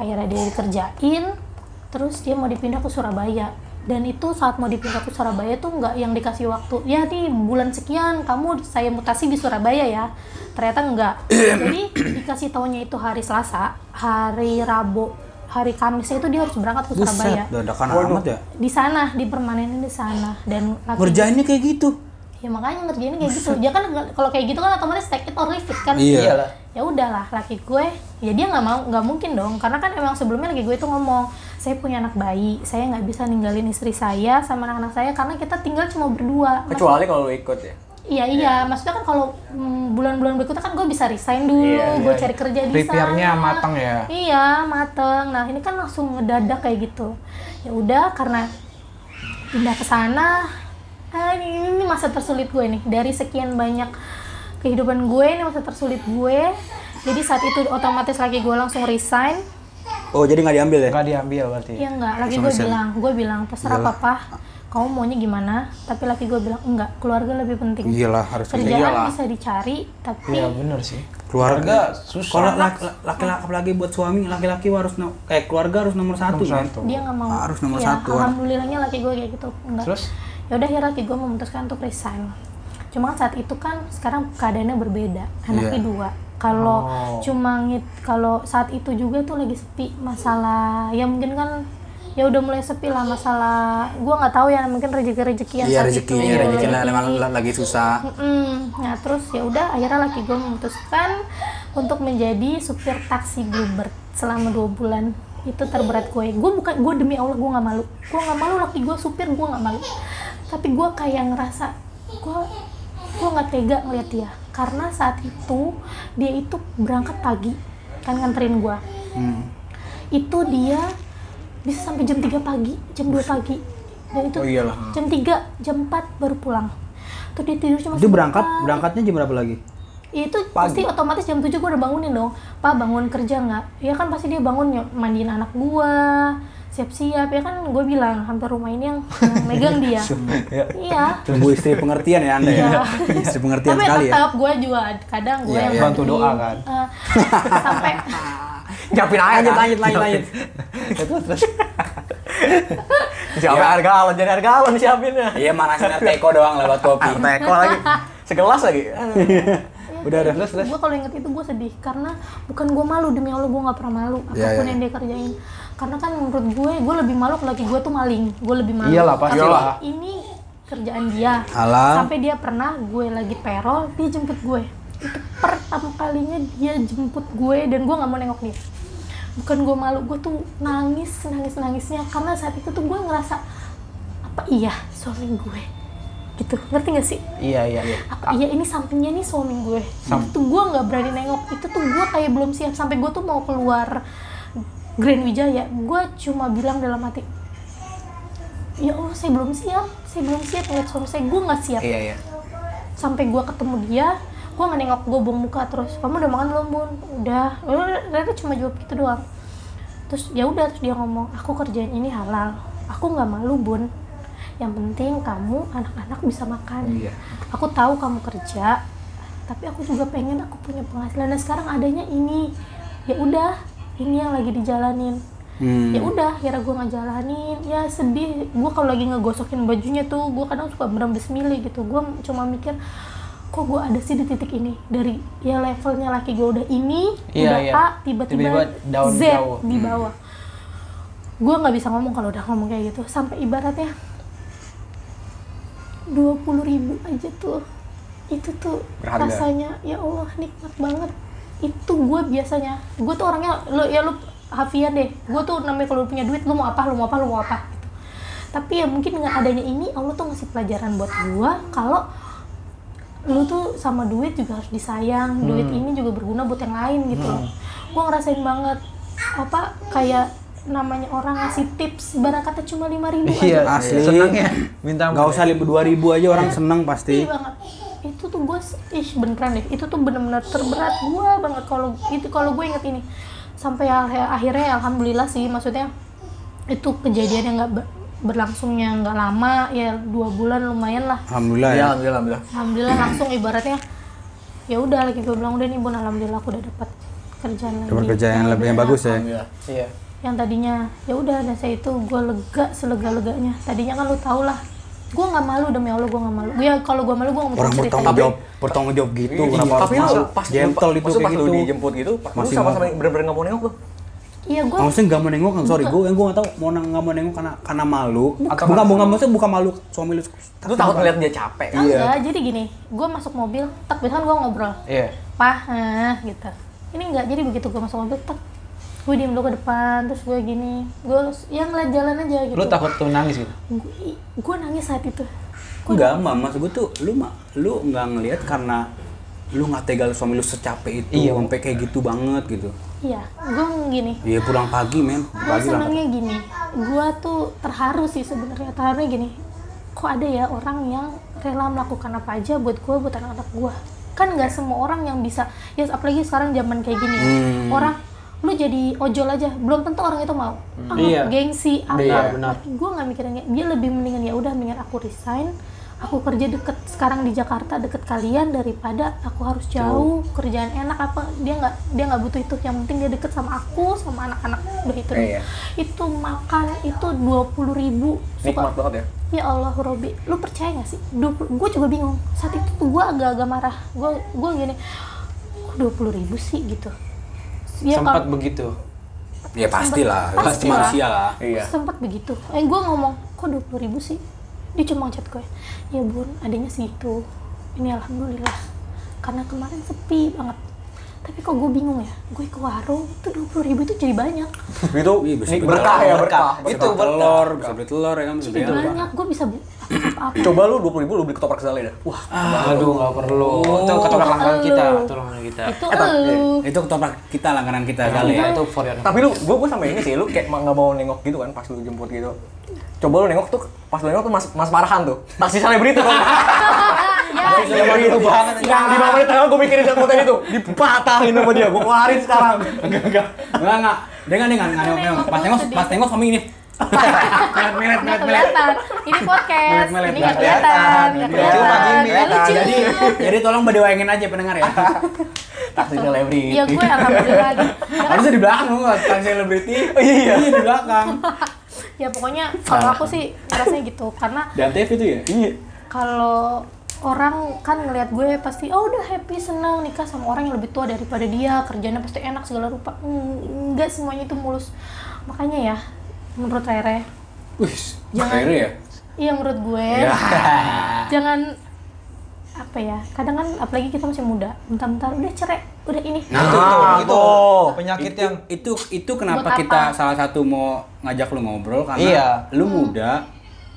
Speaker 4: Akhirnya dia dikerjain, terus dia mau dipindah ke Surabaya. Dan itu saat mau dipindah ke Surabaya tuh nggak yang dikasih waktu. Ya nih bulan sekian kamu saya mutasi di Surabaya ya. Ternyata nggak. Jadi dikasih taunya itu hari Selasa, hari Rabu, hari Kamisnya itu dia harus berangkat ke Surabaya.
Speaker 3: Buset, dadakan amat ya.
Speaker 4: Di sana, dipermanenin di sana dan laki-
Speaker 3: Ngerjainnya kayak gitu.
Speaker 4: ya makanya ngerjainnya kayak gitu dia kan nggak- kalau kayak gitu kan otomatis take it or leave it kan
Speaker 3: Iya.
Speaker 1: Iyalah.
Speaker 4: ya udahlah laki gue ya dia nggak mau nggak mungkin dong karena kan emang sebelumnya laki gue itu ngomong saya punya anak bayi saya nggak bisa ninggalin istri saya sama anak-anak saya karena kita tinggal cuma berdua Maksud-
Speaker 2: kecuali kalau lu ikut ya
Speaker 4: iya iya maksudnya kan kalau mm, bulan-bulan berikutnya kan gue bisa resign dulu
Speaker 2: Iya,
Speaker 4: gue
Speaker 2: iya.
Speaker 4: cari kerja di
Speaker 6: Prepare-nya
Speaker 4: sana.
Speaker 6: matang ya?
Speaker 4: iya mateng nah ini kan langsung ngedadak kayak gitu ya udah karena pindah ke sana ah, ini, ini masa tersulit gue nih dari sekian banyak kehidupan gue ini masa tersulit gue jadi saat itu otomatis lagi gue langsung resign
Speaker 3: Oh, jadi nggak diambil ya?
Speaker 6: Nggak diambil berarti.
Speaker 4: Iya enggak, lagi gue bilang, gue bilang terserah papa, kamu maunya gimana? Tapi laki gue bilang enggak, keluarga lebih penting.
Speaker 3: Iya,
Speaker 6: Iyalah harus
Speaker 4: Kerjaan bisa dicari, tapi
Speaker 6: Iya bener sih.
Speaker 3: Keluarga
Speaker 6: susah.
Speaker 5: Kalau laki- laki-laki apalagi buat suami, laki-laki harus no- eh keluarga harus nomor satu. kan?
Speaker 4: dia nggak mau.
Speaker 5: Harus nomor
Speaker 4: Iya,
Speaker 5: satu.
Speaker 4: Alhamdulillahnya laki gue kayak gitu, enggak.
Speaker 6: Terus?
Speaker 4: Ya udah akhirnya laki gue memutuskan untuk resign. Cuma kan saat itu kan sekarang keadaannya berbeda, anaknya dua. Kalau cuma ngit, kalau saat itu juga tuh lagi sepi masalah, ya mungkin kan ya udah mulai sepi lah masalah gue nggak tahu ya mungkin rezeki rezekian
Speaker 7: Iya rezeki, iya rezeki lah,
Speaker 4: memang
Speaker 7: memang la- lagi susah.
Speaker 4: Mm-mm. Nah terus ya udah akhirnya laki gue memutuskan untuk menjadi supir taksi Bluebird selama dua bulan itu terberat gue. Gue bukan gue demi Allah gue nggak malu. Gue nggak malu laki gue supir gue nggak malu. Tapi gue kayak ngerasa gue gue nggak tega ngeliat dia karena saat itu dia itu berangkat pagi kan nganterin gue. Itu dia bisa sampai jam 3 pagi, jam 2 pagi. Dan itu
Speaker 2: Oh, iyalah.
Speaker 4: jam 3, jam 4 baru pulang. Tuh dia tidur cuma
Speaker 5: Itu berangkat,
Speaker 4: sebentar.
Speaker 5: berangkatnya jam berapa lagi?
Speaker 4: Ya itu pasti otomatis jam 7 gue udah bangunin dong. Pak bangun kerja nggak? Ya kan pasti dia bangun ny- mandiin anak gua, siap-siap ya kan gue bilang hampir rumah ini yang, yang megang dia. Iya.
Speaker 5: Tunggu istri pengertian ya
Speaker 3: Iya.
Speaker 5: Anda ya. [laughs] istri pengertian
Speaker 4: Tapi
Speaker 5: sekali ya.
Speaker 4: tetap gue juga kadang gue yang
Speaker 6: Bantu
Speaker 4: mandiin.
Speaker 6: doa kan?
Speaker 4: Eh, sampai
Speaker 2: Capin aja
Speaker 5: Lanjut, lanjut, lanjut, lanjut.
Speaker 2: Siapa harga alon jadi harga ya. alon siapinnya.
Speaker 3: Iya, manasin teko doang lewat kopi.
Speaker 2: Teko lagi. Segelas lagi. Aduh.
Speaker 4: Iya.
Speaker 5: Udah, udah. Terus,
Speaker 4: gue kalau inget itu gue sedih karena bukan gue malu demi allah gue nggak pernah malu apapun
Speaker 7: Iya, iya.
Speaker 4: yang dia kerjain karena kan menurut gue gue lebih malu kalau laki gue tuh maling gue lebih malu
Speaker 6: Iyalah, pasti
Speaker 4: Tapi
Speaker 6: lah.
Speaker 4: ini kerjaan dia
Speaker 7: Halal.
Speaker 4: sampai dia pernah gue lagi perol dia jemput gue itu pertama kalinya dia jemput gue dan gue nggak mau nengok dia bukan gue malu gue tuh nangis nangis nangisnya karena saat itu tuh gue ngerasa apa iya suami gue gitu ngerti gak sih
Speaker 6: Iya iya iya.
Speaker 4: apa iya ini sampingnya nih suami gue itu tuh gue nggak berani nengok itu tuh gue kayak belum siap sampai gue tuh mau keluar Grand Wijaya gue cuma bilang dalam hati ya Allah saya belum siap saya belum siap ngeliat suami saya gue nggak siap
Speaker 2: Iya iya.
Speaker 4: sampai gue ketemu dia gue nggak nengok gue buang muka terus kamu udah makan belum bun udah Rere cuma jawab gitu doang terus ya udah terus dia ngomong aku kerjain ini halal aku nggak malu bun yang penting kamu anak-anak bisa makan
Speaker 6: Iya.
Speaker 4: aku tahu kamu kerja tapi aku juga pengen aku punya penghasilan dan sekarang adanya ini ya udah ini yang lagi dijalanin
Speaker 6: Hmm.
Speaker 4: ya udah akhirnya gue ngejalanin ya sedih gue kalau lagi ngegosokin bajunya tuh gue kadang suka merembes milih gitu gue cuma mikir kok gue ada sih di titik ini dari ya levelnya laki gue udah ini
Speaker 6: Iya,
Speaker 4: udah
Speaker 6: iya.
Speaker 4: A tiba-tiba,
Speaker 6: Tiba-tiba down
Speaker 4: Z
Speaker 6: jauh.
Speaker 4: di bawah gue nggak bisa ngomong kalau udah ngomong kayak gitu sampai ibaratnya dua ribu aja tuh itu tuh
Speaker 2: Berharga.
Speaker 4: rasanya ya Allah nikmat banget itu gue biasanya gue tuh orangnya lo ya lu hafian deh gue tuh namanya kalau lu punya duit lu mau apa lu mau apa lu mau apa gitu. tapi ya mungkin dengan adanya ini Allah tuh ngasih pelajaran buat gue kalau lu tuh sama duit juga harus disayang duit ini juga berguna buat yang lain gitu loh gue ngerasain banget apa kayak namanya orang ngasih tips barangkatnya cuma lima ribu
Speaker 6: Iya.
Speaker 5: Asli.
Speaker 6: Senangnya minta
Speaker 5: Gak usah ribu dua ribu aja orang seneng pasti.
Speaker 4: Ih, Iya banget itu tuh gue ih beneran deh itu tuh bener-bener terberat gue banget kalau itu kalau gue inget ini sampai al- akhirnya ya alhamdulillah sih maksudnya itu kejadian yang nggak ber- berlangsungnya nggak lama ya dua bulan lumayan lah
Speaker 5: Alhamdulillah
Speaker 2: Iya
Speaker 5: ya.
Speaker 2: alhamdulillah alhamdulillah.
Speaker 4: alhamdulillah langsung ibaratnya ya udah lagi gue bilang udah nih bun alhamdulillah aku udah dapat kerjaan lagi
Speaker 5: Dapat kerjaan yang lebih yang bagus ya.
Speaker 2: Iya.
Speaker 4: yang tadinya ya udah dan saya itu gue lega selega leganya tadinya kan lu tau lah gue nggak malu demi allah gue nggak malu gue kalau gue malu gue nggak mau
Speaker 5: Orang
Speaker 4: cerita
Speaker 5: bertanggung jawab, bertanggung jawab gitu.
Speaker 3: Iya,
Speaker 5: Kenapa harus
Speaker 2: Iya. tapi lu
Speaker 5: malu?
Speaker 2: pas
Speaker 5: Gentle itu
Speaker 2: maksudnya
Speaker 5: kayak
Speaker 2: pas
Speaker 5: gitu.
Speaker 2: lu dijemput gitu, lu
Speaker 5: Masih
Speaker 2: sama-sama
Speaker 5: mau.
Speaker 2: bener-bener nggak mau nengok lu.
Speaker 4: iya gue
Speaker 5: Maksudnya nggak mau nengok, sorry, gue gue nggak tahu mau neng- nggak mau nengok karena karena malu. Atau
Speaker 6: Atau
Speaker 5: bukan
Speaker 6: karena-
Speaker 5: bukan maksudnya bukan malu suami lu.
Speaker 2: Lu takut ngeliat dia capek.
Speaker 4: enggak jadi gini gue masuk mobil tek biasanya gue ngobrol
Speaker 6: Iya.
Speaker 4: pah eh, gitu ini enggak jadi begitu gue masuk mobil tek gue diem dulu ke depan terus gue gini gue yang ngeliat jalan aja gitu
Speaker 1: Lu takut tuh nangis gitu?
Speaker 4: Gu- gue nangis saat itu
Speaker 3: Enggak, Mbak. Maksud gue tuh, lu ma- lu nggak ngelihat karena lu nggak tega lu suami lu secapek
Speaker 2: Iya.
Speaker 3: itu, sampai kayak gitu banget gitu.
Speaker 4: iya gue gini
Speaker 3: Iya pulang pagi, men.
Speaker 4: gue
Speaker 3: Pagi lah.
Speaker 4: senangnya gini gue tuh terharu sih sebenarnya terharunya gini kok ada ya orang yang rela melakukan apa aja buat gue buat anak-anak gue kan nggak semua orang yang bisa ya apalagi sekarang zaman kayak gini ya. orang lu jadi ojol aja belum tentu orang itu mau Ah,
Speaker 1: Iya.
Speaker 4: gengsi apa
Speaker 1: Benar, benar.
Speaker 4: gue nggak mikirin kayak- dia lebih mendingan ya udah mendingan aku resign aku kerja deket sekarang di Jakarta deket kalian daripada aku harus jauh kerjaan enak apa dia nggak dia nggak butuh itu yang penting dia deket sama aku sama anak-anak udah itu deh.
Speaker 2: Iya.
Speaker 4: itu makan itu dua puluh ribu
Speaker 2: nikmat banget ya
Speaker 4: ya Allah Robi lu percaya gak sih gue juga bingung saat itu tuh gue agak-agak marah gue gue gini kok dua puluh ribu sih gitu ya
Speaker 1: Sempat
Speaker 4: kalau
Speaker 1: begitu.
Speaker 7: Ya pastilah.
Speaker 4: Pasti lah.
Speaker 7: manusia lah.
Speaker 2: iya
Speaker 4: sempat begitu eh gue ngomong kok dua puluh ribu sih dia cuma chat gue ya bun adanya segitu ini alhamdulillah karena kemarin sepi banget tapi kok gue bingung ya gue ke warung tuh dua puluh ribu itu jadi banyak
Speaker 2: itu
Speaker 3: Iya, bisa
Speaker 2: nik-
Speaker 3: beli
Speaker 2: berkah ya berkah
Speaker 3: Bisa
Speaker 2: itu
Speaker 3: beli
Speaker 2: berkah
Speaker 3: telur, bisa beli telur ya kan, bisa beli
Speaker 4: jadi banyak gue bisa beli apa-apa
Speaker 2: coba lu dua ribu lu beli ketoprak sekali dah wah
Speaker 1: Aduh, nggak perlu. Itu ketoprak langganan kita,
Speaker 4: Elu.
Speaker 1: itu langganan
Speaker 3: Ya.
Speaker 1: kita.
Speaker 4: itu
Speaker 3: Eh,
Speaker 4: elu
Speaker 3: Itu ketoprak kita langganan
Speaker 2: Iya.
Speaker 3: kita kali ya.
Speaker 1: Kita itu for your
Speaker 2: tapi lu gue gue sampai ini sih lu kayak nggak mau nengok gitu kan pas lu jemput gitu coba lu nengok tuh pas lu nengok tuh mas mas Marhan tuh taksi selebriti tuh
Speaker 4: [laughs] ya
Speaker 2: Iya, gitu banget. Lima menit tengah gue mikirin yang konten itu dipatahin sama dia, gue keluarin sekarang.
Speaker 3: Enggak, enggak. Enggak, enggak. Dia enggak, dia enggak, enggak, enggak, enggak. Pas tengok, pas tengok kami ini. Melet, melet, melet,
Speaker 4: nggak
Speaker 3: melet.
Speaker 4: kelihatan. Ini podcast.
Speaker 3: Melet-melet.
Speaker 4: Ini nggak
Speaker 3: Nggak
Speaker 4: kelihatan. Nggak
Speaker 3: Cuma
Speaker 4: kelihatan.
Speaker 3: gini, ya,
Speaker 4: Nggak lucu.
Speaker 3: Jadi, jadi tolong berdewangin aja pendengar ya.
Speaker 2: Taksi selebriti.
Speaker 4: Ya gue alhamdulillah. gitu. Ya kan?
Speaker 3: Harusnya di belakang lu nggak tentang selebriti.
Speaker 2: Iya.
Speaker 3: Iya, di belakang.
Speaker 4: Ya pokoknya kalau aku sih rasanya gitu karena
Speaker 3: Dan TV itu ya? Iya.
Speaker 4: kalau orang kan ngelihat gue pasti oh udah happy senang nikah sama orang yang lebih tua daripada dia kerjanya pasti enak segala rupa Mm, nggak semuanya itu mulus makanya ya menurut Rere
Speaker 3: Wih,
Speaker 4: Jangan.
Speaker 3: akhirnya ya?
Speaker 4: iya menurut gue jangan apa ya kadang kan apalagi kita masih muda bentar-bentar udah cerai udah ini
Speaker 2: Nah, itu
Speaker 6: Penyakit
Speaker 3: Itu-
Speaker 6: yang
Speaker 3: itu itu kenapa
Speaker 4: Buat
Speaker 3: kita
Speaker 4: apa?
Speaker 3: salah satu mau ngajak lu ngobrol karena
Speaker 6: Iya.
Speaker 3: lu muda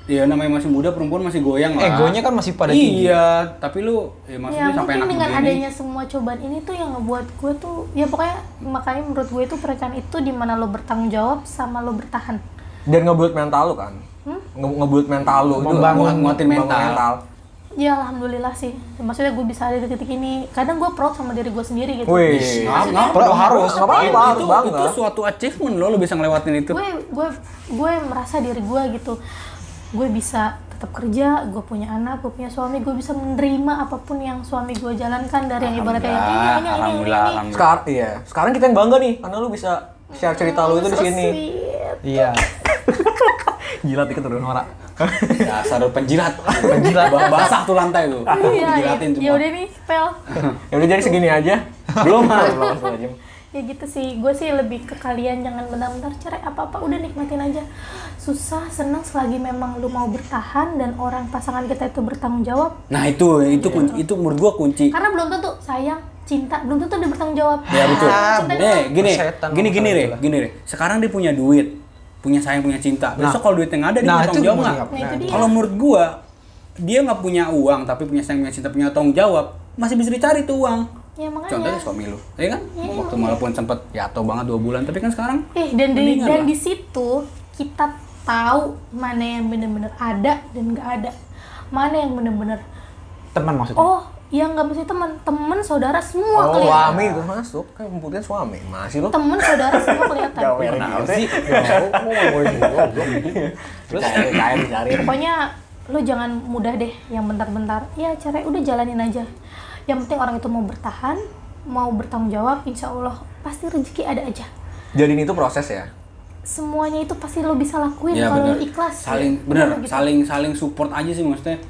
Speaker 3: ya namanya masih muda perempuan masih goyang lah
Speaker 6: egonya kan masih pada tinggi.
Speaker 3: iya tapi lu ya
Speaker 4: ya
Speaker 3: maksudnya sampai
Speaker 4: mungkin
Speaker 3: anak
Speaker 4: dengan
Speaker 3: begini
Speaker 4: adanya semua cobaan ini tuh yang ngebuat gue tuh ya pokoknya makanya menurut gue itu pernikahan itu dimana lo bertanggung jawab sama lo bertahan
Speaker 2: Dan ngebuild mental lu kan. Nge ngebuild mental lu itu
Speaker 3: Membangun-
Speaker 2: nguatin
Speaker 4: iya.
Speaker 3: membangun mental.
Speaker 4: ya alhamdulillah sih maksudnya gue bisa ada di titik ini kadang gue proud sama diri gue sendiri gitu
Speaker 2: Wih.
Speaker 3: Nah, nah,
Speaker 2: Perlu harus, nggak apa-apa,
Speaker 3: itu,
Speaker 2: harus
Speaker 3: itu
Speaker 2: bangga.
Speaker 3: suatu achievement lo lu bisa ngelewatin itu
Speaker 4: gue gue gue merasa diri gue gitu gue bisa tetap kerja gue punya anak gue punya suami gue bisa menerima apapun yang suami gue jalankan dari yang ibaratnya "Eh, ini ini ini ini, ini,
Speaker 3: alhamdulillah
Speaker 4: ini.
Speaker 3: alhamdulillah
Speaker 2: Sekarang iya, sekarang kita yang bangga nih karena lu bisa share cerita lu itu di
Speaker 4: So
Speaker 2: sini.
Speaker 4: sweet.
Speaker 6: Iya.
Speaker 2: Gila tiket turun ora.
Speaker 3: dasar lu penjilat penjilat Bah- basah tuh lantai tuh
Speaker 4: iya
Speaker 3: dijilatin
Speaker 4: ya
Speaker 3: Ah, semua
Speaker 4: udah nih pel
Speaker 2: Ya udah jadi segini [laughs] aja.
Speaker 3: belum Mas.
Speaker 2: Belum, langsung aja.
Speaker 4: ya gitu sih gue sih lebih ke kalian jangan bentar-bentar cerai apa apa udah nikmatin aja susah senang selagi memang lu mau bertahan dan orang pasangan kita itu bertanggung jawab
Speaker 3: nah itu itu kun- itu menurut gua kunci
Speaker 4: karena belum tentu sayang cinta belum tentu dia bertanggung jawab
Speaker 3: Ya betul.
Speaker 4: cinta itu
Speaker 3: Eh, gini,
Speaker 6: Persetan
Speaker 3: gini gini
Speaker 6: sama
Speaker 3: re,
Speaker 6: segala.
Speaker 3: gini re. Sekarang dia punya duit, punya sayang, punya cinta. Besok
Speaker 6: Nah.
Speaker 3: kalau duitnya nggak ada dia
Speaker 6: Nah,
Speaker 3: punya
Speaker 6: itu
Speaker 3: tanggung jawab
Speaker 6: mau
Speaker 3: nggak?
Speaker 6: siapa?
Speaker 4: Nah, itu dia.
Speaker 3: Kalau menurut gua, dia nggak punya uang tapi punya sayang, punya cinta, punya tanggung jawab, masih bisa dicari tuh uang.
Speaker 4: ya makanya
Speaker 3: Contohnya suami lu, ya kan? Waktu walaupun sempet jatuh banget dua bulan, tapi kan sekarang
Speaker 4: eh dan di
Speaker 3: Mendingan
Speaker 4: dan
Speaker 3: lah.
Speaker 4: di situ kita tahu mana yang bener-bener ada dan nggak ada mana yang bener-bener
Speaker 6: Teman maksudnya.
Speaker 4: oh yang nggak mesti teman teman saudara
Speaker 2: Oh,
Speaker 4: semua kelihatan
Speaker 2: suami itu masuk, kan putih suami. Masih lu.
Speaker 4: teman saudara semua kelihatan
Speaker 3: ya.
Speaker 2: Gawer gitu sih. Terus cari cari.
Speaker 4: pokoknya lo jangan mudah deh yang bentar-bentar ya cerai udah jalanin aja yang penting orang itu mau bertahan mau bertanggung jawab insya Allah pasti rezeki ada aja
Speaker 2: Jadi ini tuh proses ya.
Speaker 4: semuanya itu pasti lo bisa lakuin
Speaker 3: ya
Speaker 4: kalau
Speaker 3: benar.
Speaker 4: lo ikhlas
Speaker 3: Saling benar,
Speaker 4: Iya, gitu.
Speaker 3: saling saling support aja sih maksudnya.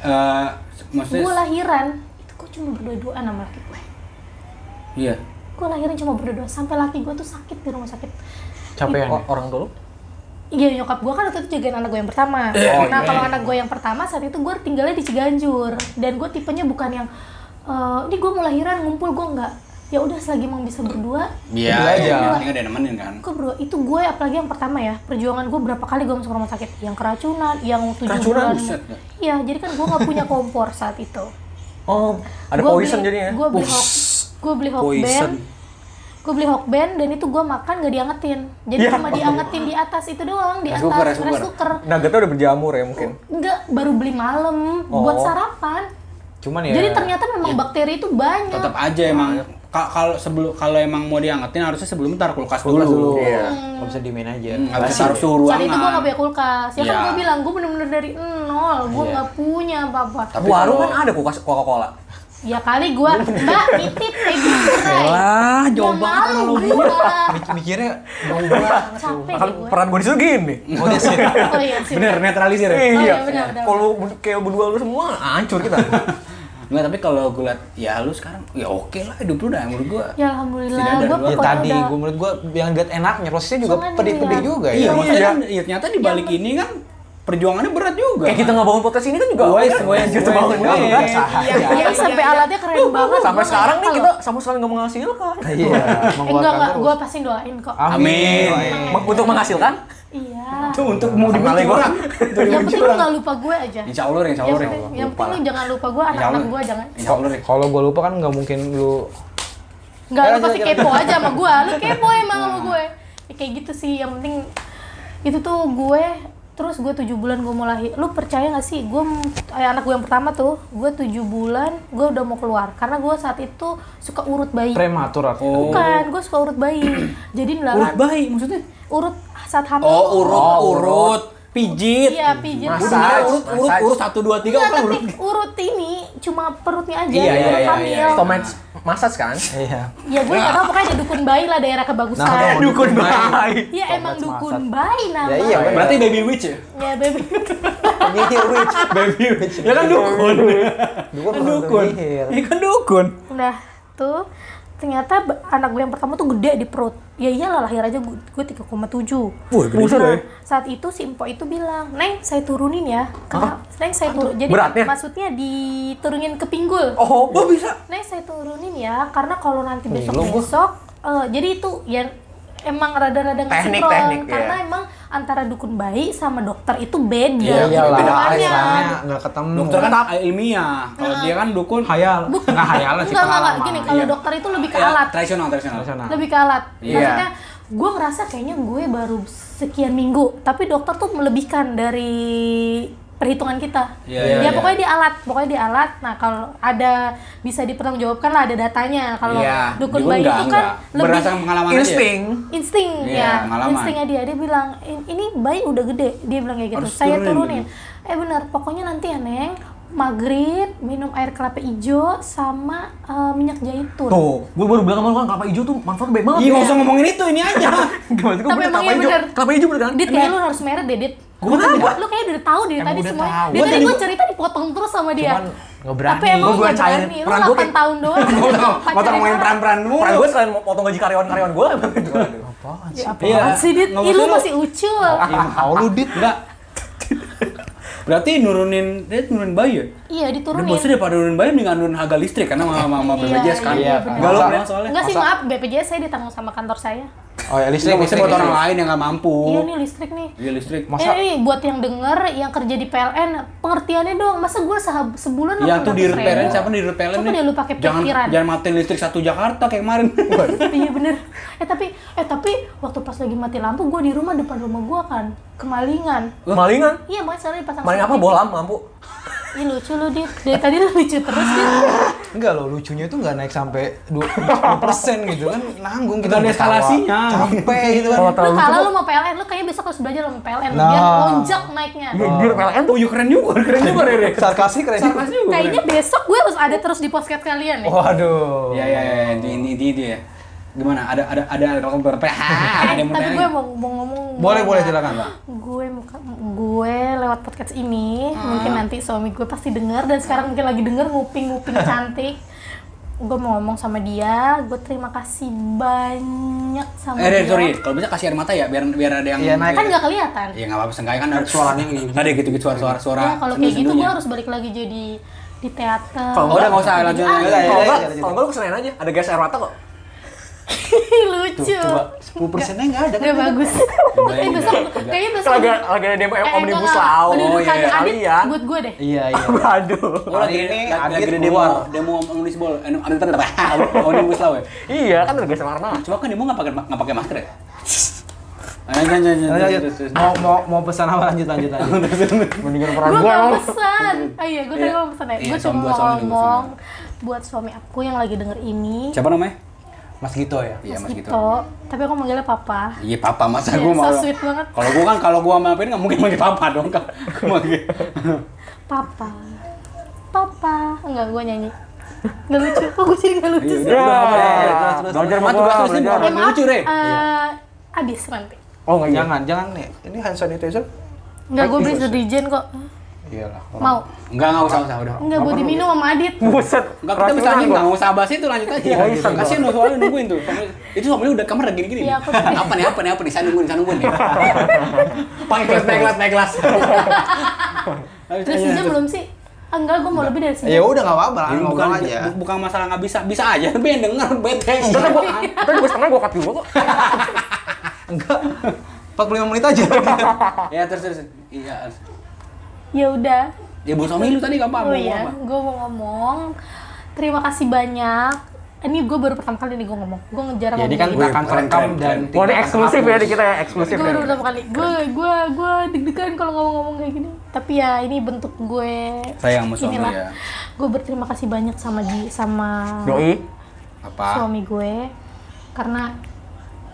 Speaker 3: Eh, maksudnya
Speaker 4: gue lahiran itu gue cuma berdua-duaan sama laki gue
Speaker 3: iya.
Speaker 4: gue lahiran cuma berdua sampai laki gue tuh sakit di rumah sakit
Speaker 6: Capek
Speaker 2: O- Orang dulu.
Speaker 4: Iya nyokap gue kan waktu itu jagain anak gue yang pertama.
Speaker 3: Eh, iya.
Speaker 4: nah kalau anak gue yang pertama saat itu gue tinggalnya di Ciganjur dan gue tipenya bukan yang eh, ini gue mau lahiran ngumpul gue nggak. ya udah selagi emang bisa berdua
Speaker 7: Iya,
Speaker 6: Berdua aja.
Speaker 7: iya.
Speaker 4: Berdua.
Speaker 3: Ini udah nemenin kan?
Speaker 4: Kok bro, itu gue apalagi yang pertama ya, perjuangan gue berapa kali gue masuk rumah sakit, yang keracunan, yang tujuh
Speaker 2: Keracunan?
Speaker 4: bulan.
Speaker 3: Buset, ya.
Speaker 4: Iya, jadi kan gue nggak punya kompor saat itu.
Speaker 2: Oh, ada
Speaker 4: Gua
Speaker 2: poison
Speaker 4: beli-
Speaker 2: jadinya.
Speaker 4: Gue beli hok, gue beli hokben,
Speaker 3: Poison.
Speaker 4: gue beli hokben dan itu gue makan gak diangetin, jadi
Speaker 2: Ya.
Speaker 4: cuma diangetin di atas itu doang, di
Speaker 3: Rice
Speaker 4: atas
Speaker 3: cooker, rice
Speaker 4: rice
Speaker 3: cooker.
Speaker 4: cooker.
Speaker 2: Nuggetnya udah berjamur ya mungkin.
Speaker 4: Enggak, baru beli malam
Speaker 2: Oh.
Speaker 4: buat sarapan.
Speaker 6: Cuman ya.
Speaker 4: Jadi ternyata memang bakteri itu banyak.
Speaker 3: Iya. Tetap aja
Speaker 7: Iya.
Speaker 3: emang ka- kalau sebelum kalau emang mau diangetin harusnya sebelum ntar kulkas dulu. dulu.
Speaker 6: Iya. Nggak bisa dimain aja.
Speaker 3: Hmm, nggak bisa taruh suhu ruangan.
Speaker 4: Saat itu gue gak punya kulkas. Ya kan
Speaker 3: Iya.
Speaker 4: gue bilang, gue bener-bener dari nol. Gue nggak punya apa-apa.
Speaker 7: Tapi
Speaker 2: Warung
Speaker 7: kalau-
Speaker 2: kan ada kulkas Coca-Cola.
Speaker 4: Ya kali gue, mbak nitip ibu cerai.
Speaker 3: Wah, jauh
Speaker 4: Ya
Speaker 3: banget [laughs]
Speaker 4: malu
Speaker 3: analoginya.
Speaker 4: gue.
Speaker 6: Mik- Mikirnya mau banget.
Speaker 4: Capek
Speaker 2: Kan
Speaker 4: deh gue.
Speaker 2: peran gue disitu gini.
Speaker 6: Oh, dia sih.
Speaker 4: Oh iya sih.
Speaker 5: Bener, netralisir ya?
Speaker 4: iya,
Speaker 2: Iya.
Speaker 4: benar, benar.
Speaker 2: Kalau ben- kayak berdua lu semua hancur kita.
Speaker 3: Enggak, tapi kalau gue liat, ya lu sekarang, ya oke lah hidup lu dah menurut gue.
Speaker 4: Ya alhamdulillah.
Speaker 3: Tidak ada
Speaker 4: Gue
Speaker 3: dua.
Speaker 6: Ya
Speaker 4: pokoknya
Speaker 6: tadi,
Speaker 4: udah.
Speaker 6: gue menurut gue yang lihat enaknya, prosesnya juga
Speaker 4: Cuman
Speaker 6: pedih-pedih
Speaker 4: iya.
Speaker 6: juga ya.
Speaker 3: Iya, maksudnya
Speaker 2: Iya.
Speaker 3: kan, ya ternyata di balik ini kan perjuangannya berat juga.
Speaker 2: kayak kita ngebangun podcast ini kan juga
Speaker 5: Gue,
Speaker 2: kan?
Speaker 5: gue,
Speaker 2: Gitu
Speaker 5: gue,
Speaker 2: banget.
Speaker 5: gue.
Speaker 2: Kan?
Speaker 4: Iya, iya, sampai gitu alatnya keren banget.
Speaker 2: Sampai
Speaker 4: Gua
Speaker 2: sekarang nih
Speaker 4: nggak Eh,
Speaker 2: kita sama sekali nggak
Speaker 6: Iya.
Speaker 2: menghasilkan.
Speaker 4: nyangka loh. Eh, enggak enggak, gue pasti doain kok.
Speaker 3: Amin.
Speaker 2: Meng-
Speaker 3: iya.
Speaker 2: Untuk menghasilkan?
Speaker 4: [laughs] Iya.
Speaker 3: Itu untuk mau dibenci orang.
Speaker 4: Yang penting lu nggak lupa gue aja.
Speaker 3: Insya Allah, Rin, insya
Speaker 4: Yang
Speaker 3: Allah, Rin.
Speaker 4: penting, yang penting lu Iya, jangan lupa gue, anak-anak gue jangan.
Speaker 3: Insya Allah, Rin.
Speaker 6: Kalau gue lupa kan nggak mungkin lu
Speaker 4: Enggak, lu
Speaker 6: Jangan,
Speaker 4: pasti
Speaker 6: jangan,
Speaker 4: kepo aja sama gue. Lu kepo emang sama gue. Ya, kayak gitu sih, yang penting itu tuh gue terus gue tujuh bulan gue mau lahir lu percaya gak sih gue m- eh, anak gue yang pertama tuh gue tujuh bulan gue udah mau keluar karena gue saat itu suka urut bayi
Speaker 6: prematur artinya.
Speaker 4: bukan gue suka urut bayi
Speaker 3: [clears throat] Oh.
Speaker 4: jadi
Speaker 3: Urut
Speaker 4: dilarang
Speaker 3: bayi maksudnya?
Speaker 4: urut saat hamil
Speaker 3: Oh, urut, urut. Pijit.
Speaker 4: iya pijat
Speaker 3: Gua dengar urut, urut, urut, satu, dua, tiga,
Speaker 4: Nggak,
Speaker 3: bukan
Speaker 4: tapi
Speaker 3: urut.
Speaker 4: urut ini cuma perutnya aja
Speaker 3: Iya, iya,
Speaker 4: perut
Speaker 3: iya,
Speaker 4: hamil
Speaker 3: iya.
Speaker 2: Stomach massage kan?
Speaker 6: Iya.
Speaker 4: ya gue nggak tahu pokoknya ada dukun bayi lah daerah kebagusan
Speaker 6: Nah,
Speaker 2: Dukun [laughs] baik.
Speaker 4: ya emang dukun bayi
Speaker 3: Ya,
Speaker 4: namanya
Speaker 6: iya,
Speaker 3: Berarti baby witch ya?
Speaker 4: Ya, baby
Speaker 6: Penyihir witch, baby witch.
Speaker 3: Ya kan dukun.
Speaker 6: Dukun
Speaker 3: Kan
Speaker 6: bukan
Speaker 3: dukun.
Speaker 6: penyihir.
Speaker 3: Ya kan dukun.
Speaker 4: Nah, tuh ternyata ba- anak gue yang pertama tuh gede di perut. Ya iyalah lahir aja gue, gue 3,7.
Speaker 3: Wah, gede juga ya.
Speaker 4: Nah, Saat itu si Empo itu bilang, "Neng, saya turunin ya." Karena Neng saya turun. Jadi
Speaker 2: Beratnya?
Speaker 4: maksudnya diturunin ke pinggul.
Speaker 2: Oh,
Speaker 3: Oh, bisa.
Speaker 4: Neng saya turunin ya, karena kalau nanti besok-besok eh, jadi itu ya emang rada-rada nggak
Speaker 2: Teknik,
Speaker 4: sinkron.
Speaker 2: teknik, ya.
Speaker 4: karena emang antara dukun bayi sama dokter itu beda
Speaker 6: Iya iyalah,
Speaker 4: gitu doanya.
Speaker 6: istilahnya nggak ketemu.
Speaker 3: Dokter kan ilmiah. Kalau dia kan dukun.
Speaker 6: hayal,
Speaker 4: Bukan.
Speaker 6: nggak hayalan sih.
Speaker 4: Enggak, enggak, enggak.
Speaker 6: pengalaman.
Speaker 4: Gini, kalau
Speaker 3: Iya.
Speaker 4: dokter itu lebih ke
Speaker 3: Ya,
Speaker 4: alat.
Speaker 3: Tradisional, tradisional.
Speaker 6: Tradisional.
Speaker 4: Lebih ke alat.
Speaker 3: Iya.
Speaker 4: Maksudnya gue ngerasa kayaknya gue baru sekian minggu, tapi dokter tuh melebihkan dari perhitungan kita.
Speaker 3: Iya,
Speaker 4: ya
Speaker 3: iya, iya.
Speaker 4: pokoknya di alat, pokoknya di alat. Nah kalau ada bisa dipertanggungjawabkan lah ada datanya. Kalau
Speaker 3: Iya,
Speaker 4: dukun
Speaker 3: dukun
Speaker 4: bayi
Speaker 3: enggak,
Speaker 4: itu kan
Speaker 3: enggak.
Speaker 4: lebih
Speaker 3: Berdasarkan pengalaman aja.
Speaker 2: Insting.
Speaker 4: insting
Speaker 3: Iya,
Speaker 4: ya
Speaker 3: pengalaman.
Speaker 4: instingnya dia dia bilang "In- ini bayi udah gede dia bilang kayak gitu
Speaker 3: Harus
Speaker 4: saya turunin
Speaker 3: turunin.
Speaker 4: eh benar pokoknya nanti ya neng maghrib minum air kelapa hijau sama eh, minyak zaitun
Speaker 2: Tuh, gue baru bilang sama lu kan kelapa hijau tuh manfaatnya baik banget.
Speaker 3: Iya, nggak usah ngomongin itu, ini
Speaker 4: [laughs]
Speaker 3: aja.
Speaker 2: Gimana tuh?
Speaker 4: Tapi emang iya bener.
Speaker 2: Kelapa hijau bener kan?
Speaker 4: dit kayak lu harus merah deh dit
Speaker 3: Gua kan
Speaker 4: Kenapa? lu kayak udah tahu dari
Speaker 6: Emang
Speaker 4: tadi
Speaker 6: udah
Speaker 4: semuanya
Speaker 6: tahu.
Speaker 4: dari
Speaker 6: Gua
Speaker 4: tadi
Speaker 6: tadi-
Speaker 4: gua cerita dipotong terus sama dia
Speaker 6: Cuman nggak berani.
Speaker 4: tapi emang
Speaker 2: Gua-
Speaker 4: lu
Speaker 2: gua
Speaker 4: gak
Speaker 2: cairin
Speaker 4: berani lu
Speaker 2: peran gua
Speaker 4: 8
Speaker 2: kayak-
Speaker 4: tahun doang
Speaker 3: Mau ngomongin peran-peran mulu.
Speaker 2: Peran gue selain mau potong gaji karyawan-karyawan gitu? gue.
Speaker 3: Iya.
Speaker 4: Apaan sih dit
Speaker 3: Nggak
Speaker 4: Ih, lu
Speaker 3: maksud lu.
Speaker 4: masih ucul
Speaker 1: Iya,
Speaker 6: Tahu lu dit
Speaker 3: Enggak. Berarti nurunin, dia nurunin bayi ya?
Speaker 4: iya
Speaker 3: Dan
Speaker 4: diturunin
Speaker 3: maksudnya daripada nurunin bayi, mendingan nurunin harga listrik karena sama, sama, sama BPJS kan?
Speaker 4: iya, bener.
Speaker 3: Enggak lo bilang soalnya.
Speaker 4: enggak sih maaf BPJS saya ditanggung sama kantor saya
Speaker 6: Oh ya,
Speaker 3: Listrik,
Speaker 6: listrik
Speaker 3: maksudnya buat orang lain yang nggak mampu.
Speaker 4: iya nih listrik nih
Speaker 3: Iya, listrik.
Speaker 6: Masa-
Speaker 4: Eh, ini buat yang denger, yang kerja di PLN, pengertiannya doang. Masa gue seha- sebulan
Speaker 3: Ya tuh
Speaker 4: tuh
Speaker 3: di repelen, siapa di repelen
Speaker 4: Coba deh lu pakai
Speaker 3: Jangan,
Speaker 4: pikiran.
Speaker 3: jangan matiin listrik satu Jakarta kayak kemarin.
Speaker 4: [laughs]
Speaker 3: [laughs]
Speaker 4: iya bener. Eh tapi, eh tapi waktu pas lagi mati lampu, gue di rumah depan rumah gue kan kemalingan.
Speaker 2: Malingan.
Speaker 4: Iya makanya sekarang dipasang.
Speaker 2: Maling apa?
Speaker 4: CCTV.
Speaker 2: Bola lampu.
Speaker 4: Ih lucu lu dit. Dari tadi lu lucu terus dit.
Speaker 6: Enggak loh, lucunya itu nggak naik sampai
Speaker 1: [laughs]
Speaker 6: 20 persen gitu kan nanggung kita
Speaker 3: Nggak ada
Speaker 6: ketawa.
Speaker 3: eskalasinya.
Speaker 6: capek gitu kan
Speaker 2: Kalau
Speaker 3: Oh,
Speaker 4: Lu
Speaker 2: terlalu
Speaker 4: kalah lu sama PLN, lu kayaknya besok harus belajar sama PLN.
Speaker 6: Nah.
Speaker 4: Biar lonjak naiknya.
Speaker 2: Jujur PLN tuh.
Speaker 3: Oh, iya keren juga, keren juga Rere.
Speaker 6: sarkastik keren
Speaker 3: Sarkas juga.
Speaker 4: Kayaknya besok gue harus ada terus di podcast kalian ya.
Speaker 6: waduh
Speaker 1: Iya,
Speaker 3: Ya ya ya, ini ini ini dia. Gimana? Ada ada [laughs] ada orang berpH, ada
Speaker 4: Eh,
Speaker 3: yang mau
Speaker 4: tapi gue
Speaker 3: tanya.
Speaker 4: mau, mau ngomong
Speaker 6: boleh
Speaker 4: mau
Speaker 6: boleh
Speaker 4: nggak?
Speaker 6: silakan pak
Speaker 4: gue muka- gue lewat podcast ini mungkin nanti suami gue pasti denger dan sekarang mungkin lagi denger nguping
Speaker 6: [laughs]
Speaker 4: nguping cantik gue mau ngomong sama dia gue terima kasih banyak sama
Speaker 3: Eh, Rere,
Speaker 4: dia
Speaker 3: sorry, Iya. kalau bisa kasih air mata ya, biar biar ada yang
Speaker 6: Iya, naik.
Speaker 4: kan nggak kelihatan Iya, gitu
Speaker 3: Ya nggak apa-apa, seenggaknya kan ada suaranya gini. Ada gitu-gitu suara-suara suara.
Speaker 4: ya kalau kayak gitu gue harus balik lagi jadi di teater
Speaker 2: Kalau
Speaker 3: Oh, udah nggak usah lanjut
Speaker 2: Kalau enggak,
Speaker 3: ya. lanjut. lanjut,
Speaker 2: kalau
Speaker 3: lanjut.
Speaker 2: enggak lu kesenain aja. Ada gas air mata kok.
Speaker 4: [laughs] lucu
Speaker 6: Sepuluh persennya nggak ada.
Speaker 4: Gak bagus. Tapi besok, [laughs] kayaknya besok.
Speaker 2: Kan Lagi lagi ada demo
Speaker 4: eh,
Speaker 2: omnibus
Speaker 4: enggak,
Speaker 2: law. [laughs]
Speaker 4: pendudukan adit
Speaker 2: Kalian.
Speaker 4: buat gue deh.
Speaker 1: Iya, iya.
Speaker 2: Aduh.
Speaker 3: Oh, lagi
Speaker 1: Hari ini
Speaker 3: ini lagi
Speaker 1: Adit keluar.
Speaker 3: ada demo demo omnibus law, eh, ada [laughs] tanda apa? Omnibus law ya.
Speaker 2: Iya kan ada gas air mata.
Speaker 3: Cuma kan demo nggak pakai nggak pakai masker ya. Lanjut lanjut lanjut,
Speaker 1: Lanjut,
Speaker 3: lanjut. lanjut.
Speaker 1: Mau mau mau pesan apa lanjut lanjut lanjut.
Speaker 2: Mendingan
Speaker 4: Gue
Speaker 2: peran gua.
Speaker 4: gak pesan. Ah iya, gue tadi
Speaker 3: Iya.
Speaker 4: mau pesan ya.
Speaker 3: Iya,
Speaker 4: Gue
Speaker 3: suami
Speaker 4: cuma
Speaker 3: gua,
Speaker 4: mau
Speaker 3: suami gua,
Speaker 4: ngomong buat suami aku yang lagi denger ini.
Speaker 3: Siapa namanya?
Speaker 1: Mas Gito ya.
Speaker 3: Iya Mas Gito.
Speaker 4: Gito. Tapi aku manggilnya papa.
Speaker 3: Iya papa masa
Speaker 4: Iya,
Speaker 3: gua mau.
Speaker 4: so sweet banget.
Speaker 3: Kalau gua kan kalau gua mampir nggak mungkin manggil papa dong kan. Manggil.
Speaker 4: Papa. Papa. Enggak, gue nyanyi. Gak lucu. [laughs] Kok gue jadi gak lucu sih?
Speaker 2: Ya. Belajar
Speaker 3: Belajar
Speaker 2: sama
Speaker 3: matu
Speaker 2: gua,
Speaker 3: terus ini
Speaker 2: belajar.
Speaker 3: orang
Speaker 4: Eh maaf,
Speaker 3: Iya, lucu Iya. deh.
Speaker 4: eh, abis nanti.
Speaker 1: Oh enggak. Jangan, jangan nih. Ini hand sanitizer.
Speaker 4: Enggak, gue beli sedijen kok.
Speaker 1: Iyalah.
Speaker 4: Mau.
Speaker 3: Enggak enggak usah usah udah.
Speaker 4: Enggak, gue diminum sama Adit.
Speaker 2: Buset.
Speaker 3: Enggak kita bisa aja enggak usah bahas itu lanjut aja.
Speaker 2: Iya, bisa,
Speaker 3: Kasihan loh soalnya nungguin tuh. Itu soalnya udah kamar udah gini-gini.
Speaker 4: Iya,
Speaker 3: nih.
Speaker 4: aku sedih.
Speaker 3: Apa nih apa nih apa nih saya nungguin saya nungguin nih. Pakai gelas naik gelas naik gelas. iya,
Speaker 4: Udah sejam belum sih? Enggak, gue mau lebih dari sejam.
Speaker 1: Ya udah enggak apa-apa,
Speaker 3: Ini bukan
Speaker 1: ngobrol aja.
Speaker 3: bu- bukan masalah nggak bisa bisa aja tapi yang denger bete.
Speaker 2: Tadi gua tadi gua seneng gua cut dulu kok.
Speaker 1: Enggak. 45 menit aja.
Speaker 3: ya terus terus. Iya.
Speaker 4: Ya udah.
Speaker 3: Ya buat suami lu tadi gampang
Speaker 4: Oh
Speaker 3: mau
Speaker 4: iya,
Speaker 3: apa?
Speaker 4: gue mau ngomong. Terima kasih banyak. Ini gue baru pertama kali nih gue ngomong. Gue ngejar
Speaker 1: Jadi kan
Speaker 4: ngomong
Speaker 1: kita akan terekam dan
Speaker 2: Wah ini eksklusif ya di kita ya, eksklusif
Speaker 4: Gue
Speaker 2: ya.
Speaker 4: baru pertama kali. Gue gue gue deg-degan kalau ngomong-ngomong kayak gini. Tapi ya ini bentuk gue.
Speaker 3: Sayang sama suami
Speaker 4: Inilah.
Speaker 3: ya.
Speaker 4: Gue berterima kasih banyak sama Ji sama
Speaker 2: Doi.
Speaker 3: Apa?
Speaker 4: suami gue karena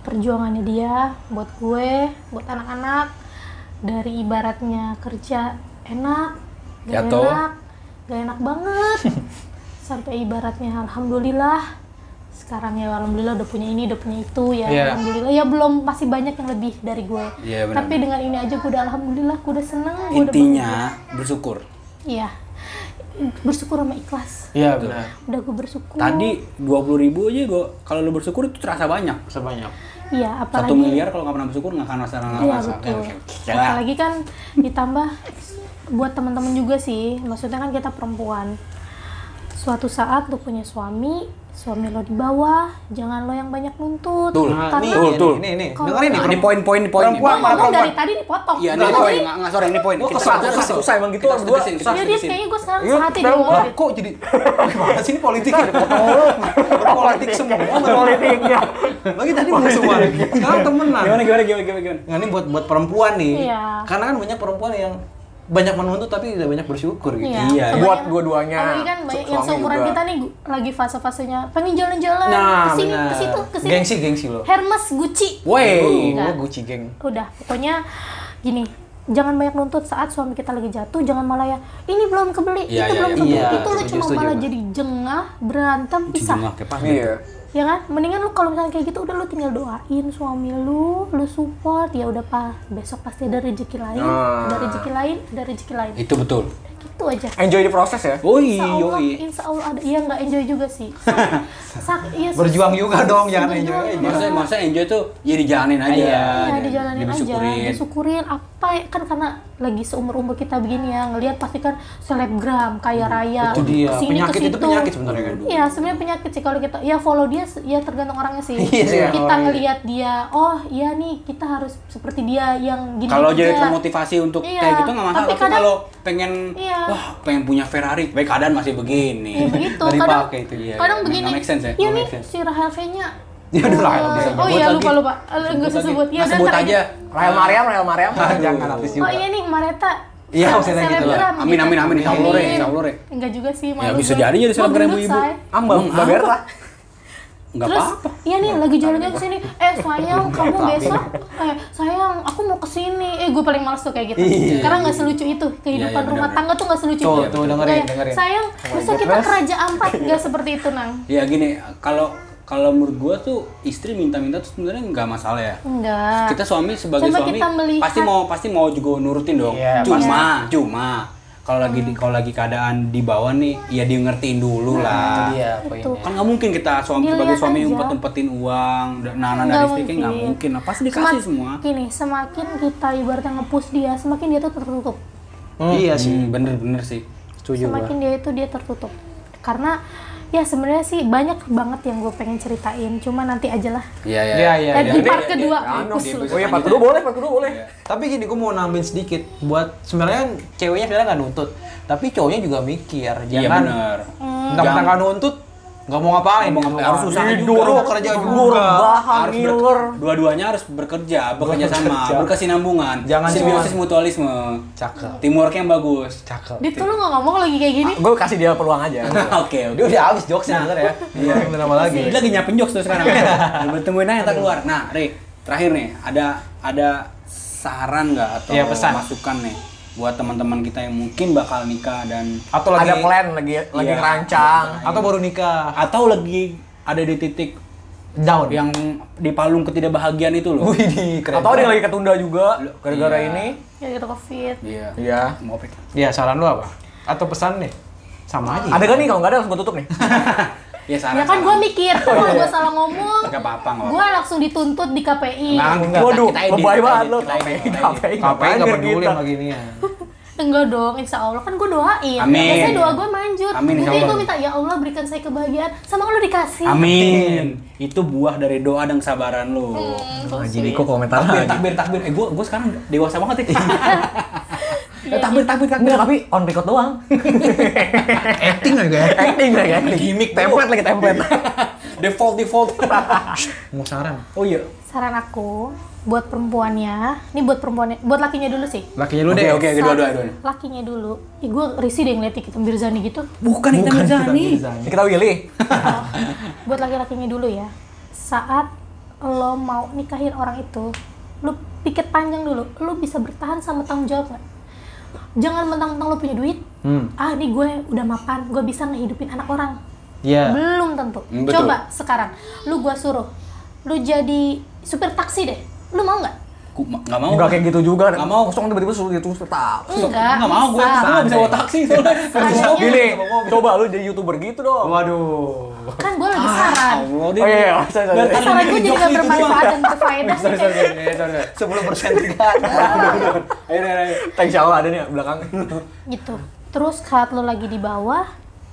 Speaker 4: perjuangannya dia buat gue buat anak-anak dari ibaratnya kerja enak gak
Speaker 3: Jatuh.
Speaker 4: enak gak enak
Speaker 3: [laughs]
Speaker 4: banget sampai ibaratnya alhamdulillah sekarang ya alhamdulillah udah punya ini udah punya itu ya
Speaker 1: Iya.
Speaker 4: alhamdulillah ya belum masih banyak yang lebih dari gue
Speaker 3: Iya, benar.
Speaker 4: tapi dengan ini aja gue udah alhamdulillah gue udah seneng gue udah
Speaker 3: Intinya bersyukur.
Speaker 4: bahagia. iya bersyukur sama ikhlas
Speaker 1: Iya, benar.
Speaker 4: udah gue bersyukur
Speaker 3: Nah. Tadi dua puluh ribu aja gua kalau lu bersyukur itu terasa banyak.
Speaker 1: Sebanyak.
Speaker 4: iya apalagi
Speaker 3: Satu miliar kalau nggak pernah bersyukur nggak akan merasa nggak
Speaker 4: Iya
Speaker 3: merasa. Ya,
Speaker 4: betul.
Speaker 3: oke. Ya.
Speaker 4: Apalagi kan ditambah buat teman-teman juga sih. Maksudnya kan kita perempuan. Suatu saat lu punya suami, suami lo di bawah, jangan lo yang banyak nuntut.
Speaker 3: Betul.
Speaker 1: Nah, ini,
Speaker 4: Karena
Speaker 3: Betul, ya. betul.
Speaker 1: ini, ini, ini.
Speaker 4: Kalau-
Speaker 1: Dengerin nih.
Speaker 3: Ini poin-poin poin nih.
Speaker 1: Perempuan
Speaker 3: poin.
Speaker 1: mana?
Speaker 4: ngomong dari
Speaker 1: perempuan.
Speaker 4: tadi dipotong.
Speaker 3: Iya, ini
Speaker 4: Nggak
Speaker 3: poin.
Speaker 4: sih?
Speaker 3: Nggak nggak, sorry, ini poin.
Speaker 2: Gua kesel, gua
Speaker 3: harus-
Speaker 2: susah emang gitu.
Speaker 3: Kita harus
Speaker 2: Gua
Speaker 3: terusin, kita
Speaker 4: Ya
Speaker 3: harus
Speaker 4: dia
Speaker 3: terusin.
Speaker 4: kayaknya gue sekarang
Speaker 2: Yuk, Iya,
Speaker 4: sehati
Speaker 2: kita
Speaker 4: deh Iya.
Speaker 2: mau-
Speaker 4: ngomong deh.
Speaker 1: Kok jadi gimana sih ini politik ya? Berpolitik semua.
Speaker 2: Politiknya.
Speaker 1: Lagi tadi musuhan. Sekarang temenan.
Speaker 3: Gimana gimana gimana gimana gimana?
Speaker 1: Nah, ini buat buat perempuan nih.
Speaker 4: Iya.
Speaker 1: Karena kan banyak perempuan yang banyak menuntut tapi tidak banyak bersyukur gitu.
Speaker 4: Iya.
Speaker 3: Iya,
Speaker 4: Apalagi-
Speaker 2: Buat dua-duanya.
Speaker 4: Apalagi kan banyak yang
Speaker 2: Suami
Speaker 4: seumuran
Speaker 2: juga.
Speaker 4: kita nih gu- lagi fase-fasenya pengen jalan-jalan
Speaker 1: Nah,
Speaker 4: kesini,
Speaker 1: benar.
Speaker 4: kesitu, kesini.
Speaker 1: Gengsi, gengsi lo.
Speaker 4: Hermes, Gucci.
Speaker 1: Woi,
Speaker 4: Enggak.
Speaker 1: gua Gucci geng. [laughs]
Speaker 4: udah pokoknya gini jangan banyak nuntut saat suami kita lagi jatuh jangan malah ya ini belum kebeli
Speaker 3: Iya, iya,
Speaker 4: itu belum
Speaker 3: iya.
Speaker 4: kebeli
Speaker 1: Iya,
Speaker 4: itu lu
Speaker 1: setuju,
Speaker 4: cuma
Speaker 1: setuju.
Speaker 4: malah jadi jengah berantem pisah
Speaker 3: Cuma kayak pas.
Speaker 2: Iya.
Speaker 4: ya kan mendingan lu kalau misalnya kayak gitu udah lu tinggal doain suami lu lu support ya udah pak besok pasti ada rezeki lain ada rezeki lain ada rezeki lain
Speaker 1: Iya.
Speaker 3: Itu betul. Oh, iya.
Speaker 4: gitu aja
Speaker 2: Enjoy the proses ya.
Speaker 3: Oi,
Speaker 4: Insya Allah,
Speaker 3: oi.
Speaker 4: insya Allah ada iya nggak enjoy juga sih Sak- sak- iya, sus-
Speaker 1: Berjuang juga dong, jangan
Speaker 4: berjuang
Speaker 1: enjoy.
Speaker 4: juga.
Speaker 3: Maksudnya, maksudnya enjoy tuh ya dijalanin aja.
Speaker 4: Iya,
Speaker 3: Iya,
Speaker 4: dijalanin aja, disyukurin apa ya- kan karena lagi seumur umur kita begini ya ngelihat pasti kan selebgram kaya raya
Speaker 1: Itu dia.
Speaker 4: kesini,
Speaker 1: Penyakit itu
Speaker 4: kesitu.
Speaker 1: penyakit sebenarnya kan.
Speaker 4: Iya, sebenarnya penyakit sih kalau kita ya follow dia se- ya tergantung orangnya sih.
Speaker 1: Iya sih,
Speaker 4: kita
Speaker 1: orangnya.
Speaker 4: ngelihat dia, oh iya nih kita harus seperti dia yang gini
Speaker 3: Kalau jadi
Speaker 4: aja. [laughs]
Speaker 3: termotivasi untuk
Speaker 4: Iya,
Speaker 3: kayak gitu nggak masalah.
Speaker 4: tapi
Speaker 3: Tapi,
Speaker 4: kadang-
Speaker 3: kalau pengen,
Speaker 4: Iya.
Speaker 3: wah pengen punya Ferrari, baik keadaan masih begini.
Speaker 4: Ya begitu,
Speaker 1: Dari
Speaker 4: kadang,
Speaker 1: pakai itu, iya,
Speaker 4: kadang
Speaker 3: iya.
Speaker 4: begini,
Speaker 3: Nggak make sense ya,
Speaker 4: iya
Speaker 3: nggak
Speaker 4: nih
Speaker 3: make sense.
Speaker 4: si Rahel V-nya,
Speaker 1: Ya udah lah,
Speaker 4: Eh,
Speaker 1: bisa.
Speaker 4: oh
Speaker 3: Sebut
Speaker 4: iya
Speaker 3: lagi.
Speaker 4: lupa lupa, Eh, nggak usah
Speaker 3: lagi.
Speaker 4: sebut, iya
Speaker 3: Nah,
Speaker 4: udah
Speaker 3: sebut
Speaker 4: ntar
Speaker 3: aja.
Speaker 4: aja.
Speaker 2: Rahel Mariam, Rahel Mariam.
Speaker 1: Jangan habis juga.
Speaker 4: Oh iya nih Mareta.
Speaker 1: Iya, maksudnya gitu.
Speaker 4: selebgram.
Speaker 3: Amin, amin, amin. Insya Allah, Re.
Speaker 4: Amin.
Speaker 3: Insya Allah, Re.
Speaker 4: Enggak juga sih,
Speaker 3: Ya
Speaker 4: malu
Speaker 3: bisa
Speaker 4: gue.
Speaker 3: jadi jadi
Speaker 4: Mau
Speaker 3: selebgram
Speaker 4: gendut,
Speaker 3: ibu-ibu.
Speaker 4: say.
Speaker 2: Ah, Mbak
Speaker 3: Emang
Speaker 2: Mbak
Speaker 3: apa?
Speaker 2: Berta.
Speaker 3: Nggak
Speaker 4: Terus,
Speaker 3: apa-apa.
Speaker 4: iya nih lagi jalan-jalan ke
Speaker 3: [laughs]
Speaker 4: sini. Eh, sayang, kamu besok eh sayang, aku mau ke sini. Eh, gue paling males tuh kayak gitu. Karena nggak selucu itu. Kehidupan
Speaker 3: Iya, iya,
Speaker 4: rumah
Speaker 3: benar,
Speaker 4: tangga tuh nggak selucu
Speaker 1: Tuh,
Speaker 4: itu.
Speaker 1: tuh, dengerin,
Speaker 4: Nggak ya,
Speaker 1: dengerin.
Speaker 4: Sayang, besok kita kerajaan
Speaker 3: [laughs]
Speaker 4: empat nggak seperti itu, Nang.
Speaker 3: Ya gini, kalau kalau menurut gua tuh istri minta-minta tuh sebenarnya nggak masalah ya.
Speaker 4: Enggak.
Speaker 3: kita suami sebagai
Speaker 4: Nah, Coba
Speaker 3: suami
Speaker 4: kita melihat-
Speaker 3: pasti mau pasti mau juga nurutin dong
Speaker 1: Iya,
Speaker 3: cuma cuma kalau lagi
Speaker 4: Hmm.
Speaker 3: di- kalau lagi keadaan di bawah nih ya dia ngertiin dulu lah
Speaker 1: Iya,
Speaker 4: Nah, Itu.
Speaker 3: kan nggak mungkin kita suami
Speaker 4: Dilihat
Speaker 3: sebagai suami
Speaker 4: aja.
Speaker 3: umpet umpetin uang dan anak
Speaker 4: Nggak
Speaker 3: dari istrinya nggak
Speaker 4: mungkin.
Speaker 3: mungkin lah pasti dikasih
Speaker 4: Semak-
Speaker 3: semua
Speaker 4: Gini, semakin kita ibaratnya nge-push dia, semakin dia tuh tertutup.
Speaker 1: Iya sih.
Speaker 3: Hmm, bener bener sih
Speaker 1: Setuju
Speaker 4: semakin dia itu dia tertutup karena ya sebenarnya sih banyak banget yang gue pengen ceritain cuma nanti aja lah
Speaker 7: Iya, iya.
Speaker 6: Iya, iya,
Speaker 4: Eh,
Speaker 6: iya.
Speaker 4: di part kedua mampus lu.
Speaker 2: Oh iya, part kedua boleh, part kedua boleh.
Speaker 1: Tapi gini, gue mau nambahin sedikit buat sebenarnya ceweknya sebenarnya nggak nuntut, tapi cowoknya juga mikir,
Speaker 3: Iya
Speaker 1: jangan
Speaker 3: benar.
Speaker 1: tentang nggak nuntut, nggak mau ngapain, nggak mau
Speaker 3: harus usaha juga.
Speaker 1: Hidup, lu kerja
Speaker 2: Tidur,
Speaker 1: juga.
Speaker 2: bahan,
Speaker 3: Harus ber-
Speaker 2: ngiler.
Speaker 3: dua-duanya harus bekerja, bekerja sama, berkesinambungan.
Speaker 1: Jangan
Speaker 3: simbiosis mutualisme.
Speaker 1: Cakep.
Speaker 3: Teamworknya yang bagus.
Speaker 1: Cakep.
Speaker 4: Dit tuh lu nggak ngomong lagi kayak gini
Speaker 2: Gue kasih dia peluang aja.
Speaker 3: [laughs] Oke,
Speaker 1: [laughs] Dia
Speaker 3: udah.
Speaker 1: udah habis jokesnya bener ya. Iya. Kenapa lagi?
Speaker 3: Dia lagi nyiapin jokes tuh
Speaker 1: [laughs]
Speaker 3: sekarang. Lu Tungguin aja ntar keluar. Nah, Ri, terakhir nih, ada ada saran nggak atau
Speaker 1: Iya, pesan.
Speaker 3: masukan nih buat teman-teman kita yang mungkin bakal nikah dan
Speaker 1: Atau lagi
Speaker 2: Ada plan lagi lagi
Speaker 3: Iya.
Speaker 2: ngerancang.
Speaker 1: atau baru nikah. Iya.
Speaker 3: atau lagi ada di titik
Speaker 1: Down.
Speaker 3: yang di palung ketidakbahagiaan itu loh.
Speaker 1: Wih, di keren.
Speaker 2: Atau ada yang lagi ketunda juga gara-gara
Speaker 3: Iya.
Speaker 2: ini.
Speaker 4: ya gitu covid
Speaker 3: Iya.
Speaker 2: Iya.
Speaker 3: Mau pik.
Speaker 1: Ya saran lu apa? Atau pesan nih? Sama aja.
Speaker 2: Ada gak nih kalau nggak ada langsung gue tutup nih.
Speaker 3: Ya saran.
Speaker 4: ya kan gue mikir kalau gue salah ngomong
Speaker 3: Gak apa-apa, nggak
Speaker 4: gue langsung dituntut di KPI
Speaker 3: Enggak,
Speaker 2: Waduh,
Speaker 3: kita edit,
Speaker 2: lebay
Speaker 3: kita
Speaker 2: banget
Speaker 3: edit,
Speaker 2: lo.
Speaker 3: kita
Speaker 2: KPI,
Speaker 3: edit, kita
Speaker 2: KPI,
Speaker 3: edit.
Speaker 1: KPI
Speaker 2: KPI,
Speaker 1: nggak peduli
Speaker 2: kita.
Speaker 1: sama ya? ginian.
Speaker 4: Enggak dong, insya Allah kan gue doain.
Speaker 3: Amin.
Speaker 4: Biasanya doa gue manjur.
Speaker 3: Amin, insya
Speaker 4: Jadi gue
Speaker 3: Allah.
Speaker 4: minta ya Allah berikan saya kebahagiaan, sama lu dikasih.
Speaker 3: Amin. Itu buah dari doa dan kesabaran lu.
Speaker 2: Jadi kok Oh, komentar
Speaker 3: Takbir,
Speaker 2: lagi.
Speaker 3: takbir, takbir. Eh, gua, gua sekarang dewasa
Speaker 4: [laughs]
Speaker 3: banget ya.
Speaker 2: Eh, takbir, takbir, takbir. Enggak, tapi on record doang.
Speaker 6: Acting aja ya.
Speaker 2: Acting lagi, acting.
Speaker 3: Gimik tuh.
Speaker 2: Template lagi, template.
Speaker 3: [laughs] default,
Speaker 2: [laughs]
Speaker 3: default.
Speaker 1: Mau saran?
Speaker 3: oh iya.
Speaker 4: Saran aku buat perempuannya, ini buat perempuannya, buat lakinya dulu sih.
Speaker 1: Lakinya lu
Speaker 3: Oke,
Speaker 1: deh.
Speaker 3: oke, oke, dua, dua, dua.
Speaker 4: Lakinya dulu. Ih, gue risih deh ngeliat Nikita Mirzani
Speaker 3: [laughs]
Speaker 4: gitu.
Speaker 3: Bukan kita Mirzani.
Speaker 2: Kita Willy.
Speaker 4: Oh, buat laki-lakinya dulu ya. Saat lo mau nikahin orang itu, lo pikir panjang dulu. Lo bisa bertahan sama tanggung jawab nggak? Jangan mentang-mentang lo punya duit.
Speaker 3: Hmm.
Speaker 4: Ah, ini gue udah mapan, gue bisa ngehidupin anak orang.
Speaker 1: Iya.
Speaker 4: Belum tentu.
Speaker 3: Hmm, betul.
Speaker 4: Coba sekarang, lu gua suruh, lu jadi supir taksi deh. Lu mau nggak?
Speaker 3: Ku, ma- gak mau.
Speaker 2: Enggak kayak gitu juga.
Speaker 3: Nggak mau.
Speaker 2: Kosong tiba-tiba suruh dia tuh tetap.
Speaker 4: Enggak.
Speaker 3: Nggak mau, gue
Speaker 4: bisa.
Speaker 3: nggak bisa bawa taksi soalnya.
Speaker 4: Seandainya-
Speaker 2: Gini, coba lu jadi youtuber gitu dong.
Speaker 1: Waduh.
Speaker 4: Kan gue lagi saran.
Speaker 3: Allah, dia-
Speaker 2: Oh iya, iya, sorry, sorry.
Speaker 3: Bentar,
Speaker 4: Saran gue
Speaker 3: Ah. ini
Speaker 4: jadi
Speaker 3: jokes
Speaker 4: nggak
Speaker 3: itu
Speaker 4: bermanfaat
Speaker 3: doang.
Speaker 4: dan berfaedah sih. kayak-
Speaker 1: Sebelum persen tiga.
Speaker 3: Ayo, ayo, ayo.
Speaker 2: Insya Allah ada nih belakang.
Speaker 4: Gitu. Terus saat lu lagi di bawah,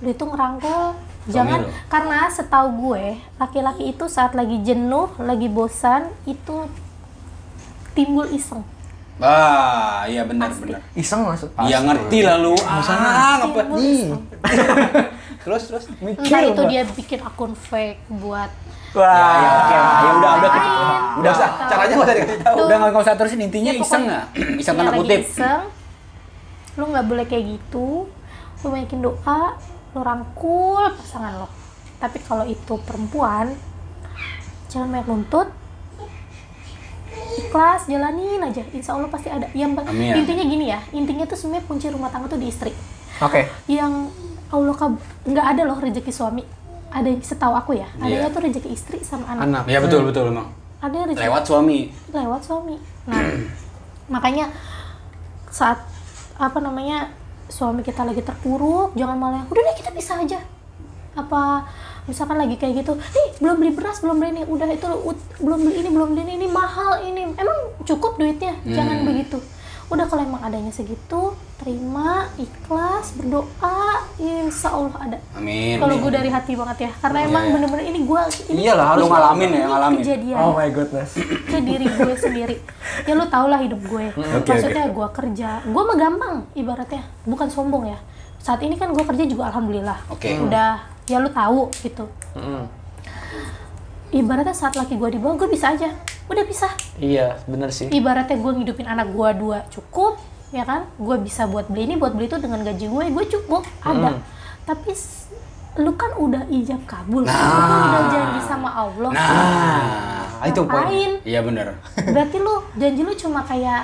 Speaker 4: lu itu ngerangkul. Jangan, karena setahu gue, laki-laki itu saat lagi jenuh, lagi bosan, itu timbul iseng.
Speaker 3: Ah, iya benar, benar.
Speaker 2: Iseng masuk.
Speaker 3: Ya ngerti lah lu. Ah, ngapa?
Speaker 4: Timbul
Speaker 3: [laughs]
Speaker 4: iseng.
Speaker 1: Terus terus.
Speaker 4: Entah itu dia bikin akun fake buat
Speaker 2: Wah,
Speaker 3: Ya, oke lah. Ya udah, udah. kita-
Speaker 4: lain.
Speaker 3: Udah,
Speaker 4: Atau-
Speaker 1: Caranya nggak usah dikasih tahu.
Speaker 4: Tuh.
Speaker 3: Udah nggak nggak usah terusin intinya
Speaker 4: Ya,
Speaker 3: iseng
Speaker 4: pokoknya-
Speaker 3: nggak? [clears throat] Iseng tanda
Speaker 4: Iya, lagi
Speaker 3: kutip.
Speaker 4: iseng. lu nggak boleh kayak gitu lu banyakin doa lu rangkul pasangan lo tapi kalau itu perempuan jangan banyak nuntut ikhlas jalanin aja insya Allah pasti ada yang ba-
Speaker 3: Amin.
Speaker 4: intinya gini ya intinya tuh sebenarnya kunci rumah tangga tuh di istri
Speaker 2: Oke.
Speaker 4: yang Allah kab- nggak ada loh rezeki suami ada setahu aku ya
Speaker 3: Iya.
Speaker 4: adanya tuh rezeki istri sama anak,
Speaker 1: Anak.
Speaker 3: Iya betul, betul emang.
Speaker 4: ada yang rezeki
Speaker 3: Lewat suami.
Speaker 4: lewat suami. Nah, [clears throat] makanya saat apa namanya suami kita lagi terpuruk, jangan malah udah deh kita bisa aja. Apa misalkan lagi kayak gitu, nih belum beli beras, belum beli ini, udah itu ut- belum beli ini, belum beli ini, ini mahal ini. Emang cukup duitnya?
Speaker 3: Hmm.
Speaker 4: Jangan begitu. Udah kalau emang adanya segitu, terima, ikhlas, berdoa, insya Allah ada.
Speaker 3: Amin. Iya,
Speaker 4: Kalau gue dari hati banget ya, karena emang bener-bener ini gue ini
Speaker 1: Iyalah harus
Speaker 3: Lu ngalamin ya,
Speaker 4: ini
Speaker 3: ngalamin.
Speaker 4: kejadian
Speaker 2: Oh my goodness.
Speaker 4: ke diri gue sendiri ya lu tau lah hidup gue
Speaker 1: Hmm.
Speaker 4: maksudnya gue kerja gue mah gampang ibaratnya bukan sombong ya saat ini kan gue kerja juga alhamdulillah
Speaker 3: Oke.
Speaker 4: udah ya lu tahu gitu ibaratnya saat laki gue di bawah gue bisa aja udah bisa
Speaker 1: Iya, bener sih.
Speaker 4: ibaratnya gue ngidupin anak gue dua cukup ya kan gue bisa buat beli ini buat beli itu dengan gaji gue gue cukup
Speaker 1: Hmm.
Speaker 4: ada tapi s- lu kan udah ijab kabul lu kan udah janji sama Allah
Speaker 1: Nah, itu poin.
Speaker 4: ngapain
Speaker 3: Ah, Iya benar.
Speaker 4: berarti lu janji lu cuma kayak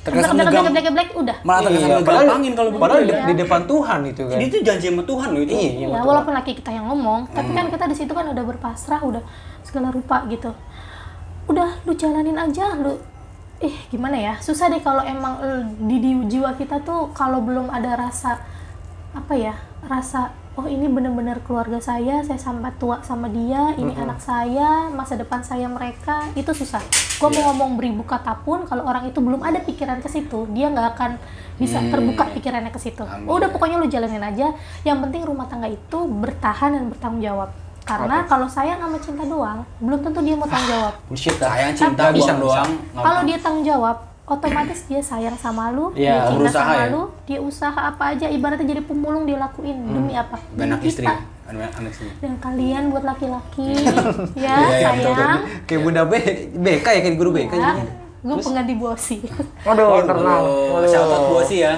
Speaker 3: Terkesan
Speaker 4: geblek, geblek,
Speaker 3: ngegam-
Speaker 4: geblek, geblek, udah
Speaker 3: Malah terkesan
Speaker 1: Iya,
Speaker 3: ngegampangin kalau begitu. Iya.
Speaker 1: padahal
Speaker 4: Iya.
Speaker 1: di- di depan Tuhan itu kan.
Speaker 3: Ini tuh janji sama Tuhan loh itu.
Speaker 1: Iya,
Speaker 4: ya walaupun laki kita yang ngomong tapi kan kita di situ kan udah berpasrah udah segala rupa gitu udah lu jalanin aja lu ih gimana ya susah deh kalau emang eh, di, di jiwa kita tuh kalau belum ada rasa apa ya rasa oh ini bener-bener keluarga saya saya sampai tua sama dia ini anak saya masa depan saya mereka itu susah gue mau ngomong beribu kata pun kalau orang itu belum ada pikiran ke situ dia nggak akan bisa terbuka pikirannya ke situ udah pokoknya lu jalanin aja yang penting rumah tangga itu bertahan dan bertanggung jawab karena kalau sayang sama cinta doang belum tentu dia mau tanggung jawab
Speaker 1: bullshit dah.
Speaker 7: Sayang cinta
Speaker 1: Tapi-
Speaker 7: buang doang.
Speaker 4: kalau dia tanggung jawab otomatis dia sayang sama lu
Speaker 1: Iya,
Speaker 4: dia cinta
Speaker 7: berusaha
Speaker 4: sama
Speaker 7: ya.
Speaker 4: lu dia usaha apa aja ibaratnya jadi pemulung dia lakuin demi apa Demi
Speaker 7: Anak Hmm. istri. ya?
Speaker 4: kita.
Speaker 7: Anak anak istri.
Speaker 4: dan kalian buat laki-laki [laughs]
Speaker 7: Iya,
Speaker 4: ya
Speaker 7: iya, betul, Iya, kan
Speaker 4: sayang
Speaker 1: kayak bunda B BK ya kayak guru BK
Speaker 4: ya.
Speaker 1: jadinya.
Speaker 4: gue pengganti bosi
Speaker 2: Aduh, internal.
Speaker 7: Oh, shout out gua sih ya.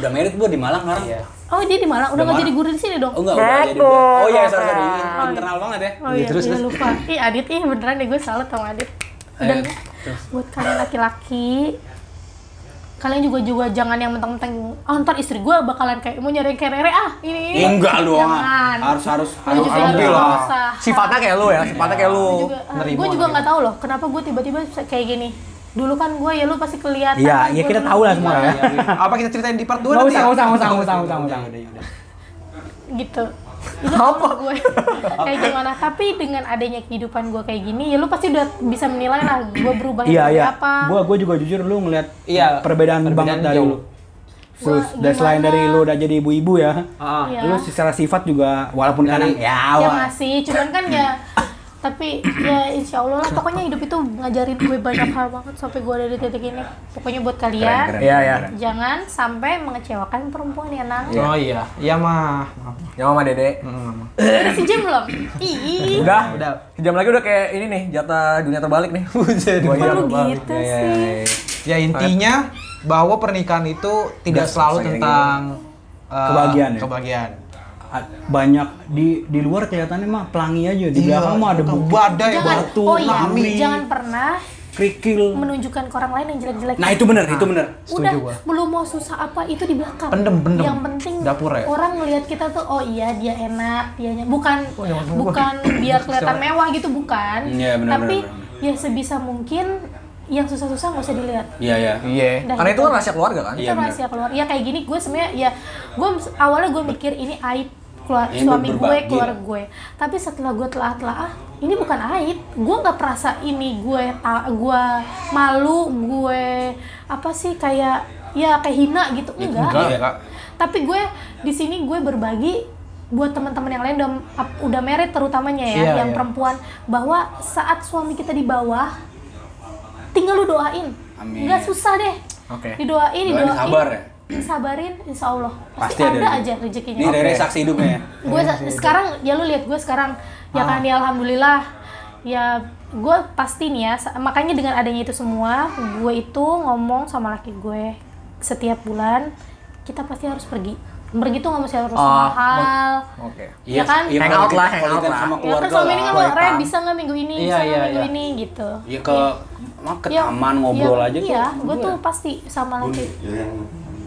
Speaker 7: Udah merit gua di Malang sekarang.
Speaker 4: [laughs] oh dia di Malang udah nggak jadi guru di sini dong
Speaker 7: Oh enggak, udah jadi udah. Oh iya, sorry, sorry. Internal banget ya.
Speaker 4: Oh iya, iya, lupa. Ih, Adit, ih beneran deh gue salut sama Adit. Dan buat kalian laki-laki, kalian juga juga jangan yang menteng-menteng, oh ntar istri gue bakalan kayak mau nyari yang kayak Rere ah, ini ini.
Speaker 3: Enggak lu
Speaker 4: Jangan.
Speaker 3: harus harus
Speaker 4: Lu juga harus
Speaker 2: Lebih lah.
Speaker 4: berusaha.
Speaker 2: Sifatnya kayak lu ya, sifatnya kayak lu.
Speaker 5: Oh,
Speaker 4: Gua juga, gue juga nggak tahu loh kenapa gue tiba-tiba kayak gini. Dulu kan gue ya lu pasti kelihatan.
Speaker 5: Iya,
Speaker 4: kan
Speaker 5: iya
Speaker 4: gua
Speaker 5: kita
Speaker 4: dulu
Speaker 5: tahu lah
Speaker 4: gini.
Speaker 5: semua ya.
Speaker 6: Apa kita ceritain di part 2
Speaker 5: Nggak
Speaker 6: nanti
Speaker 5: usah,
Speaker 6: ya?
Speaker 5: nggak usah, nggak usah, nggak usah, nggak usah.
Speaker 4: gitu itu apa gue [laughs] kayak gimana tapi dengan adanya kehidupan gue kayak gini ya lu pasti udah bisa menilai lah gue berubah
Speaker 5: Iya,
Speaker 4: seperti
Speaker 5: iya.
Speaker 4: apa
Speaker 5: Gua gua juga jujur lu ngeliat
Speaker 1: Iya,
Speaker 5: perbedaan,
Speaker 1: perbedaan
Speaker 5: banget dari
Speaker 1: jauh.
Speaker 5: lu. Terus
Speaker 4: Gua
Speaker 5: dan selain
Speaker 4: gimana?
Speaker 5: dari lu udah jadi ibu-ibu ya.
Speaker 1: Ah,
Speaker 4: Iya.
Speaker 5: Lu secara sifat juga walaupun kadang ya
Speaker 4: ya
Speaker 5: wah,
Speaker 4: masih cuman kan ya tapi ya insya Allah lah pokoknya hidup itu ngajarin gue banyak hal banget sampai gue ada di titik ini pokoknya buat kalian
Speaker 5: Iya, iya.
Speaker 4: jangan sampai mengecewakan perempuan ya nang
Speaker 1: Oh iya, iya mah. Maaf.
Speaker 2: Ya Mama
Speaker 5: Iya,
Speaker 2: Dede.
Speaker 4: udah sejam belum ih
Speaker 2: Udah,
Speaker 1: Udah.
Speaker 2: Sejam lagi udah kayak ini nih, jatah dunia terbalik nih. [laughs] Gua
Speaker 4: kok
Speaker 2: aja
Speaker 4: lu
Speaker 5: Iya,
Speaker 2: terbalik.
Speaker 4: gitu
Speaker 2: Ya, ya,
Speaker 4: sih?
Speaker 2: ya, ya.
Speaker 6: Ya intinya bahwa pernikahan itu tidak
Speaker 2: Udah,
Speaker 6: selalu
Speaker 2: saya
Speaker 6: tentang eh,
Speaker 5: Kebahagiaan ya?
Speaker 6: kebahagiaan.
Speaker 5: a- banyak di di luar kelihatannya mah pelangi aja di
Speaker 1: Iya,
Speaker 5: belakang mah ada
Speaker 6: itu
Speaker 5: bukit
Speaker 6: Iya. badai
Speaker 4: jangan
Speaker 6: batu
Speaker 4: oh iya
Speaker 6: tsunami.
Speaker 4: jangan pernah
Speaker 5: kerikil.
Speaker 4: menunjukkan ke orang lain yang jelek-jelek
Speaker 3: Nah itu bener, itu bener.
Speaker 4: udah
Speaker 6: gua.
Speaker 4: belum mau susah apa itu di belakang
Speaker 6: Pendem, pendem.
Speaker 4: yang penting
Speaker 6: Dapur ya?
Speaker 4: orang ngelihat kita tuh oh iya dia enak dia bukan
Speaker 6: Oh, iya, [coughs]
Speaker 4: bukan dia kelihatan mewah gitu bukan
Speaker 3: Iya, benar,
Speaker 4: tapi
Speaker 3: benar,
Speaker 4: ya sebisa mungkin yang susah-susah nggak usah dilihat
Speaker 3: Iya iya.
Speaker 2: Iya.
Speaker 4: Dah
Speaker 2: Karena itu
Speaker 4: gitu.
Speaker 2: kan rahasia keluarga kan.
Speaker 4: itu rahasia keluar ya kayak gini gue sebenarnya ya gue awalnya gue mikir ini aib keluar
Speaker 7: Ini
Speaker 4: suami gue
Speaker 7: berbagi.
Speaker 4: keluarga gue tapi setelah gue telah telah ah ini bukan aib gue nggak perasa ini gue ta- gue malu gue apa sih kayak ya kayak hina gitu enggak,
Speaker 6: Iya.
Speaker 4: tapi gue di sini gue berbagi buat teman-teman yang lain udah ap- udah married terutamanya ya
Speaker 6: Iya,
Speaker 4: yang
Speaker 6: iya.
Speaker 4: perempuan bahwa saat suami kita di bawah tinggal lu doain
Speaker 7: Amin.
Speaker 4: nggak susah deh
Speaker 2: Oke.
Speaker 4: didoain
Speaker 7: Doain
Speaker 4: didoain
Speaker 7: sabar ya?
Speaker 4: disabarin insya Allah pasti,
Speaker 7: Pasti ada
Speaker 4: ada,
Speaker 7: rezeki.
Speaker 4: aja rezekinya
Speaker 7: Ini dari saksi hidupnya ya.
Speaker 4: gue sa- sekarang ya lu lihat gue sekarang ya kan ya alhamdulillah ya gue pasti nih ya sa- makanya dengan adanya itu semua gue itu ngomong sama laki gue setiap bulan kita pasti harus pergi pergi tuh nggak mesti harus mahal
Speaker 2: Oke.
Speaker 3: iya,
Speaker 4: Ya kan?
Speaker 2: Hangout lah,
Speaker 7: quality
Speaker 2: hangout
Speaker 7: time
Speaker 2: lah.
Speaker 7: Sama
Speaker 4: ya kan
Speaker 7: keluarga
Speaker 4: selama ini kan lu
Speaker 7: lah.
Speaker 4: re bisa nggak minggu ini
Speaker 1: Iya,
Speaker 4: bisa nggak
Speaker 1: iya,
Speaker 4: minggu
Speaker 1: iya.
Speaker 4: ini gitu
Speaker 7: Ya ke mah ke taman
Speaker 4: Iya,
Speaker 7: ngobrol aja tuh.
Speaker 4: iya gue tuh pasti sama laki iya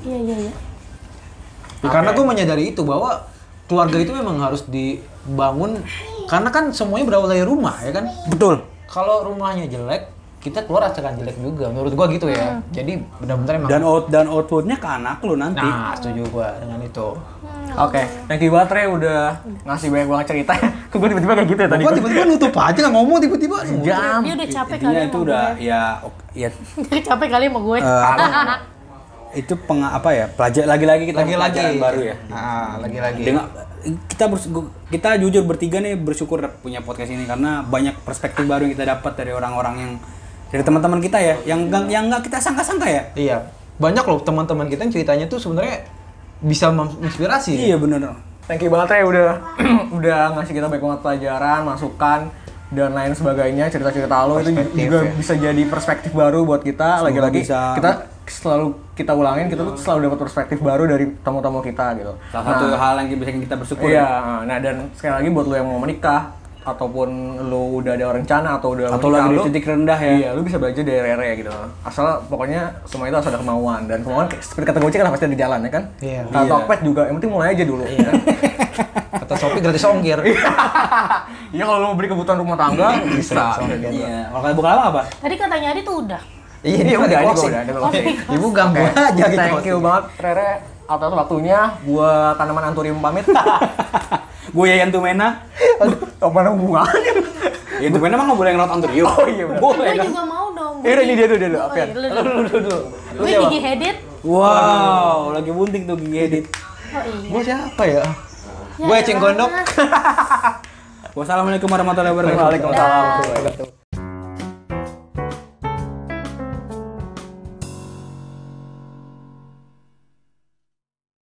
Speaker 4: iya iya
Speaker 6: Ya, karena gue menyadari itu bahwa keluarga itu memang harus dibangun karena kan semuanya berawal dari rumah ya kan.
Speaker 5: Betul.
Speaker 6: Kalau rumahnya jelek, kita keluar akan jelek juga. Menurut gua gitu ya. Jadi benar-benar emang.
Speaker 5: Dan out dan outputnya ke anak lu nanti.
Speaker 6: nah, setuju gua dengan itu.
Speaker 2: Oke, thank you banget Re udah ngasih banyak banget cerita. [laughs] Kok gue tiba-tiba kayak gitu ya tadi?
Speaker 6: Gua tiba-tiba nutup aja nggak ngomong tiba-tiba.
Speaker 2: Jam.
Speaker 4: dia udah capek kali
Speaker 3: Intinya
Speaker 4: sama
Speaker 3: itu
Speaker 4: gue.
Speaker 3: udah ya ok- ya
Speaker 4: [laughs] Dia capek kali sama gue
Speaker 2: Eh.
Speaker 5: Itu peng apa ya? Pelajar
Speaker 3: lagi-lagi kita
Speaker 6: Lagi-lagi
Speaker 3: pelajaran baru ya.
Speaker 6: Nah, lagi-lagi.
Speaker 3: Dengan kita bers- gu- kita jujur bertiga nih bersyukur punya podcast ini karena banyak perspektif baru yang kita dapat dari orang-orang yang dari teman-teman kita ya yang nggak yang nggak kita sangka-sangka ya.
Speaker 6: Iya, banyak loh teman-teman kita yang ceritanya tuh sebenarnya bisa menginspirasi.
Speaker 3: Iya bener.
Speaker 2: Thank you banget Re udah [clears throat] udah ngasih kita banyak banget pelajaran, masukan dan lain sebagainya cerita-cerita lo itu juga bisa jadi perspektif baru buat kita lagi-lagi
Speaker 5: bisa-
Speaker 2: kita selalu kita ulangin kita tuh selalu dapat perspektif baru dari tamu-tamu kita gitu
Speaker 3: Salah satu hal yang bisa kita bersyukur.
Speaker 2: Iya, nah dan sekali lagi buat lo yang mau menikah ataupun lo udah ada rencana atau udah
Speaker 3: Atau
Speaker 2: menikah,
Speaker 3: lagi di
Speaker 2: lo-
Speaker 3: titik rendah ya.
Speaker 2: Iya, lu bisa belajar dari Rere gitu. Asal pokoknya semua itu harus ada kemauan dan kemauan kayak- seperti kata Gojek kan pasti ada di jalan ya kan?
Speaker 6: Iya.
Speaker 2: Kata Tokped juga, yang penting mulai aja dulu. ya kan?
Speaker 6: Kata Sophie gratis ongkir.
Speaker 2: [laughs] Iya, kalau lu mau beli kebutuhan rumah tangga bisa.
Speaker 3: Iya.
Speaker 5: kalau kata bukan apa apa?
Speaker 4: tadi katanya Adi tuh udah
Speaker 6: Iya,
Speaker 2: Iya,
Speaker 6: dia
Speaker 2: udah, ini
Speaker 6: udah
Speaker 2: gua
Speaker 6: closing.
Speaker 2: udah, ini gua
Speaker 4: closing.
Speaker 6: Ibu ganggu aja
Speaker 2: Oke,
Speaker 6: gitu.
Speaker 2: Thank you banget Rere atas waktunya gua tanaman anturium pamit.
Speaker 3: Gue Yayan Tumena.
Speaker 2: Apa mana hubungannya?
Speaker 3: Yayan Tumena mah nggak boleh ngelot anturium.
Speaker 2: Oh iya benar.
Speaker 4: Gue juga mau dong. Oh,
Speaker 2: Iya, ini dia dulu, dia dulu, Alfian.
Speaker 4: Gue gigi headed.
Speaker 3: Wow, lagi bunting tuh gigi edit.
Speaker 4: Oh iya.
Speaker 6: Gue siapa ya?
Speaker 4: Ya,
Speaker 6: Gue Ecing
Speaker 4: gimana?
Speaker 6: Gondok.
Speaker 3: Wassalamualaikum warahmatullahi wabarakatuh.
Speaker 2: Waalaikumsalam.
Speaker 4: Dah.
Speaker 2: warahmatullahi wabarakatuh.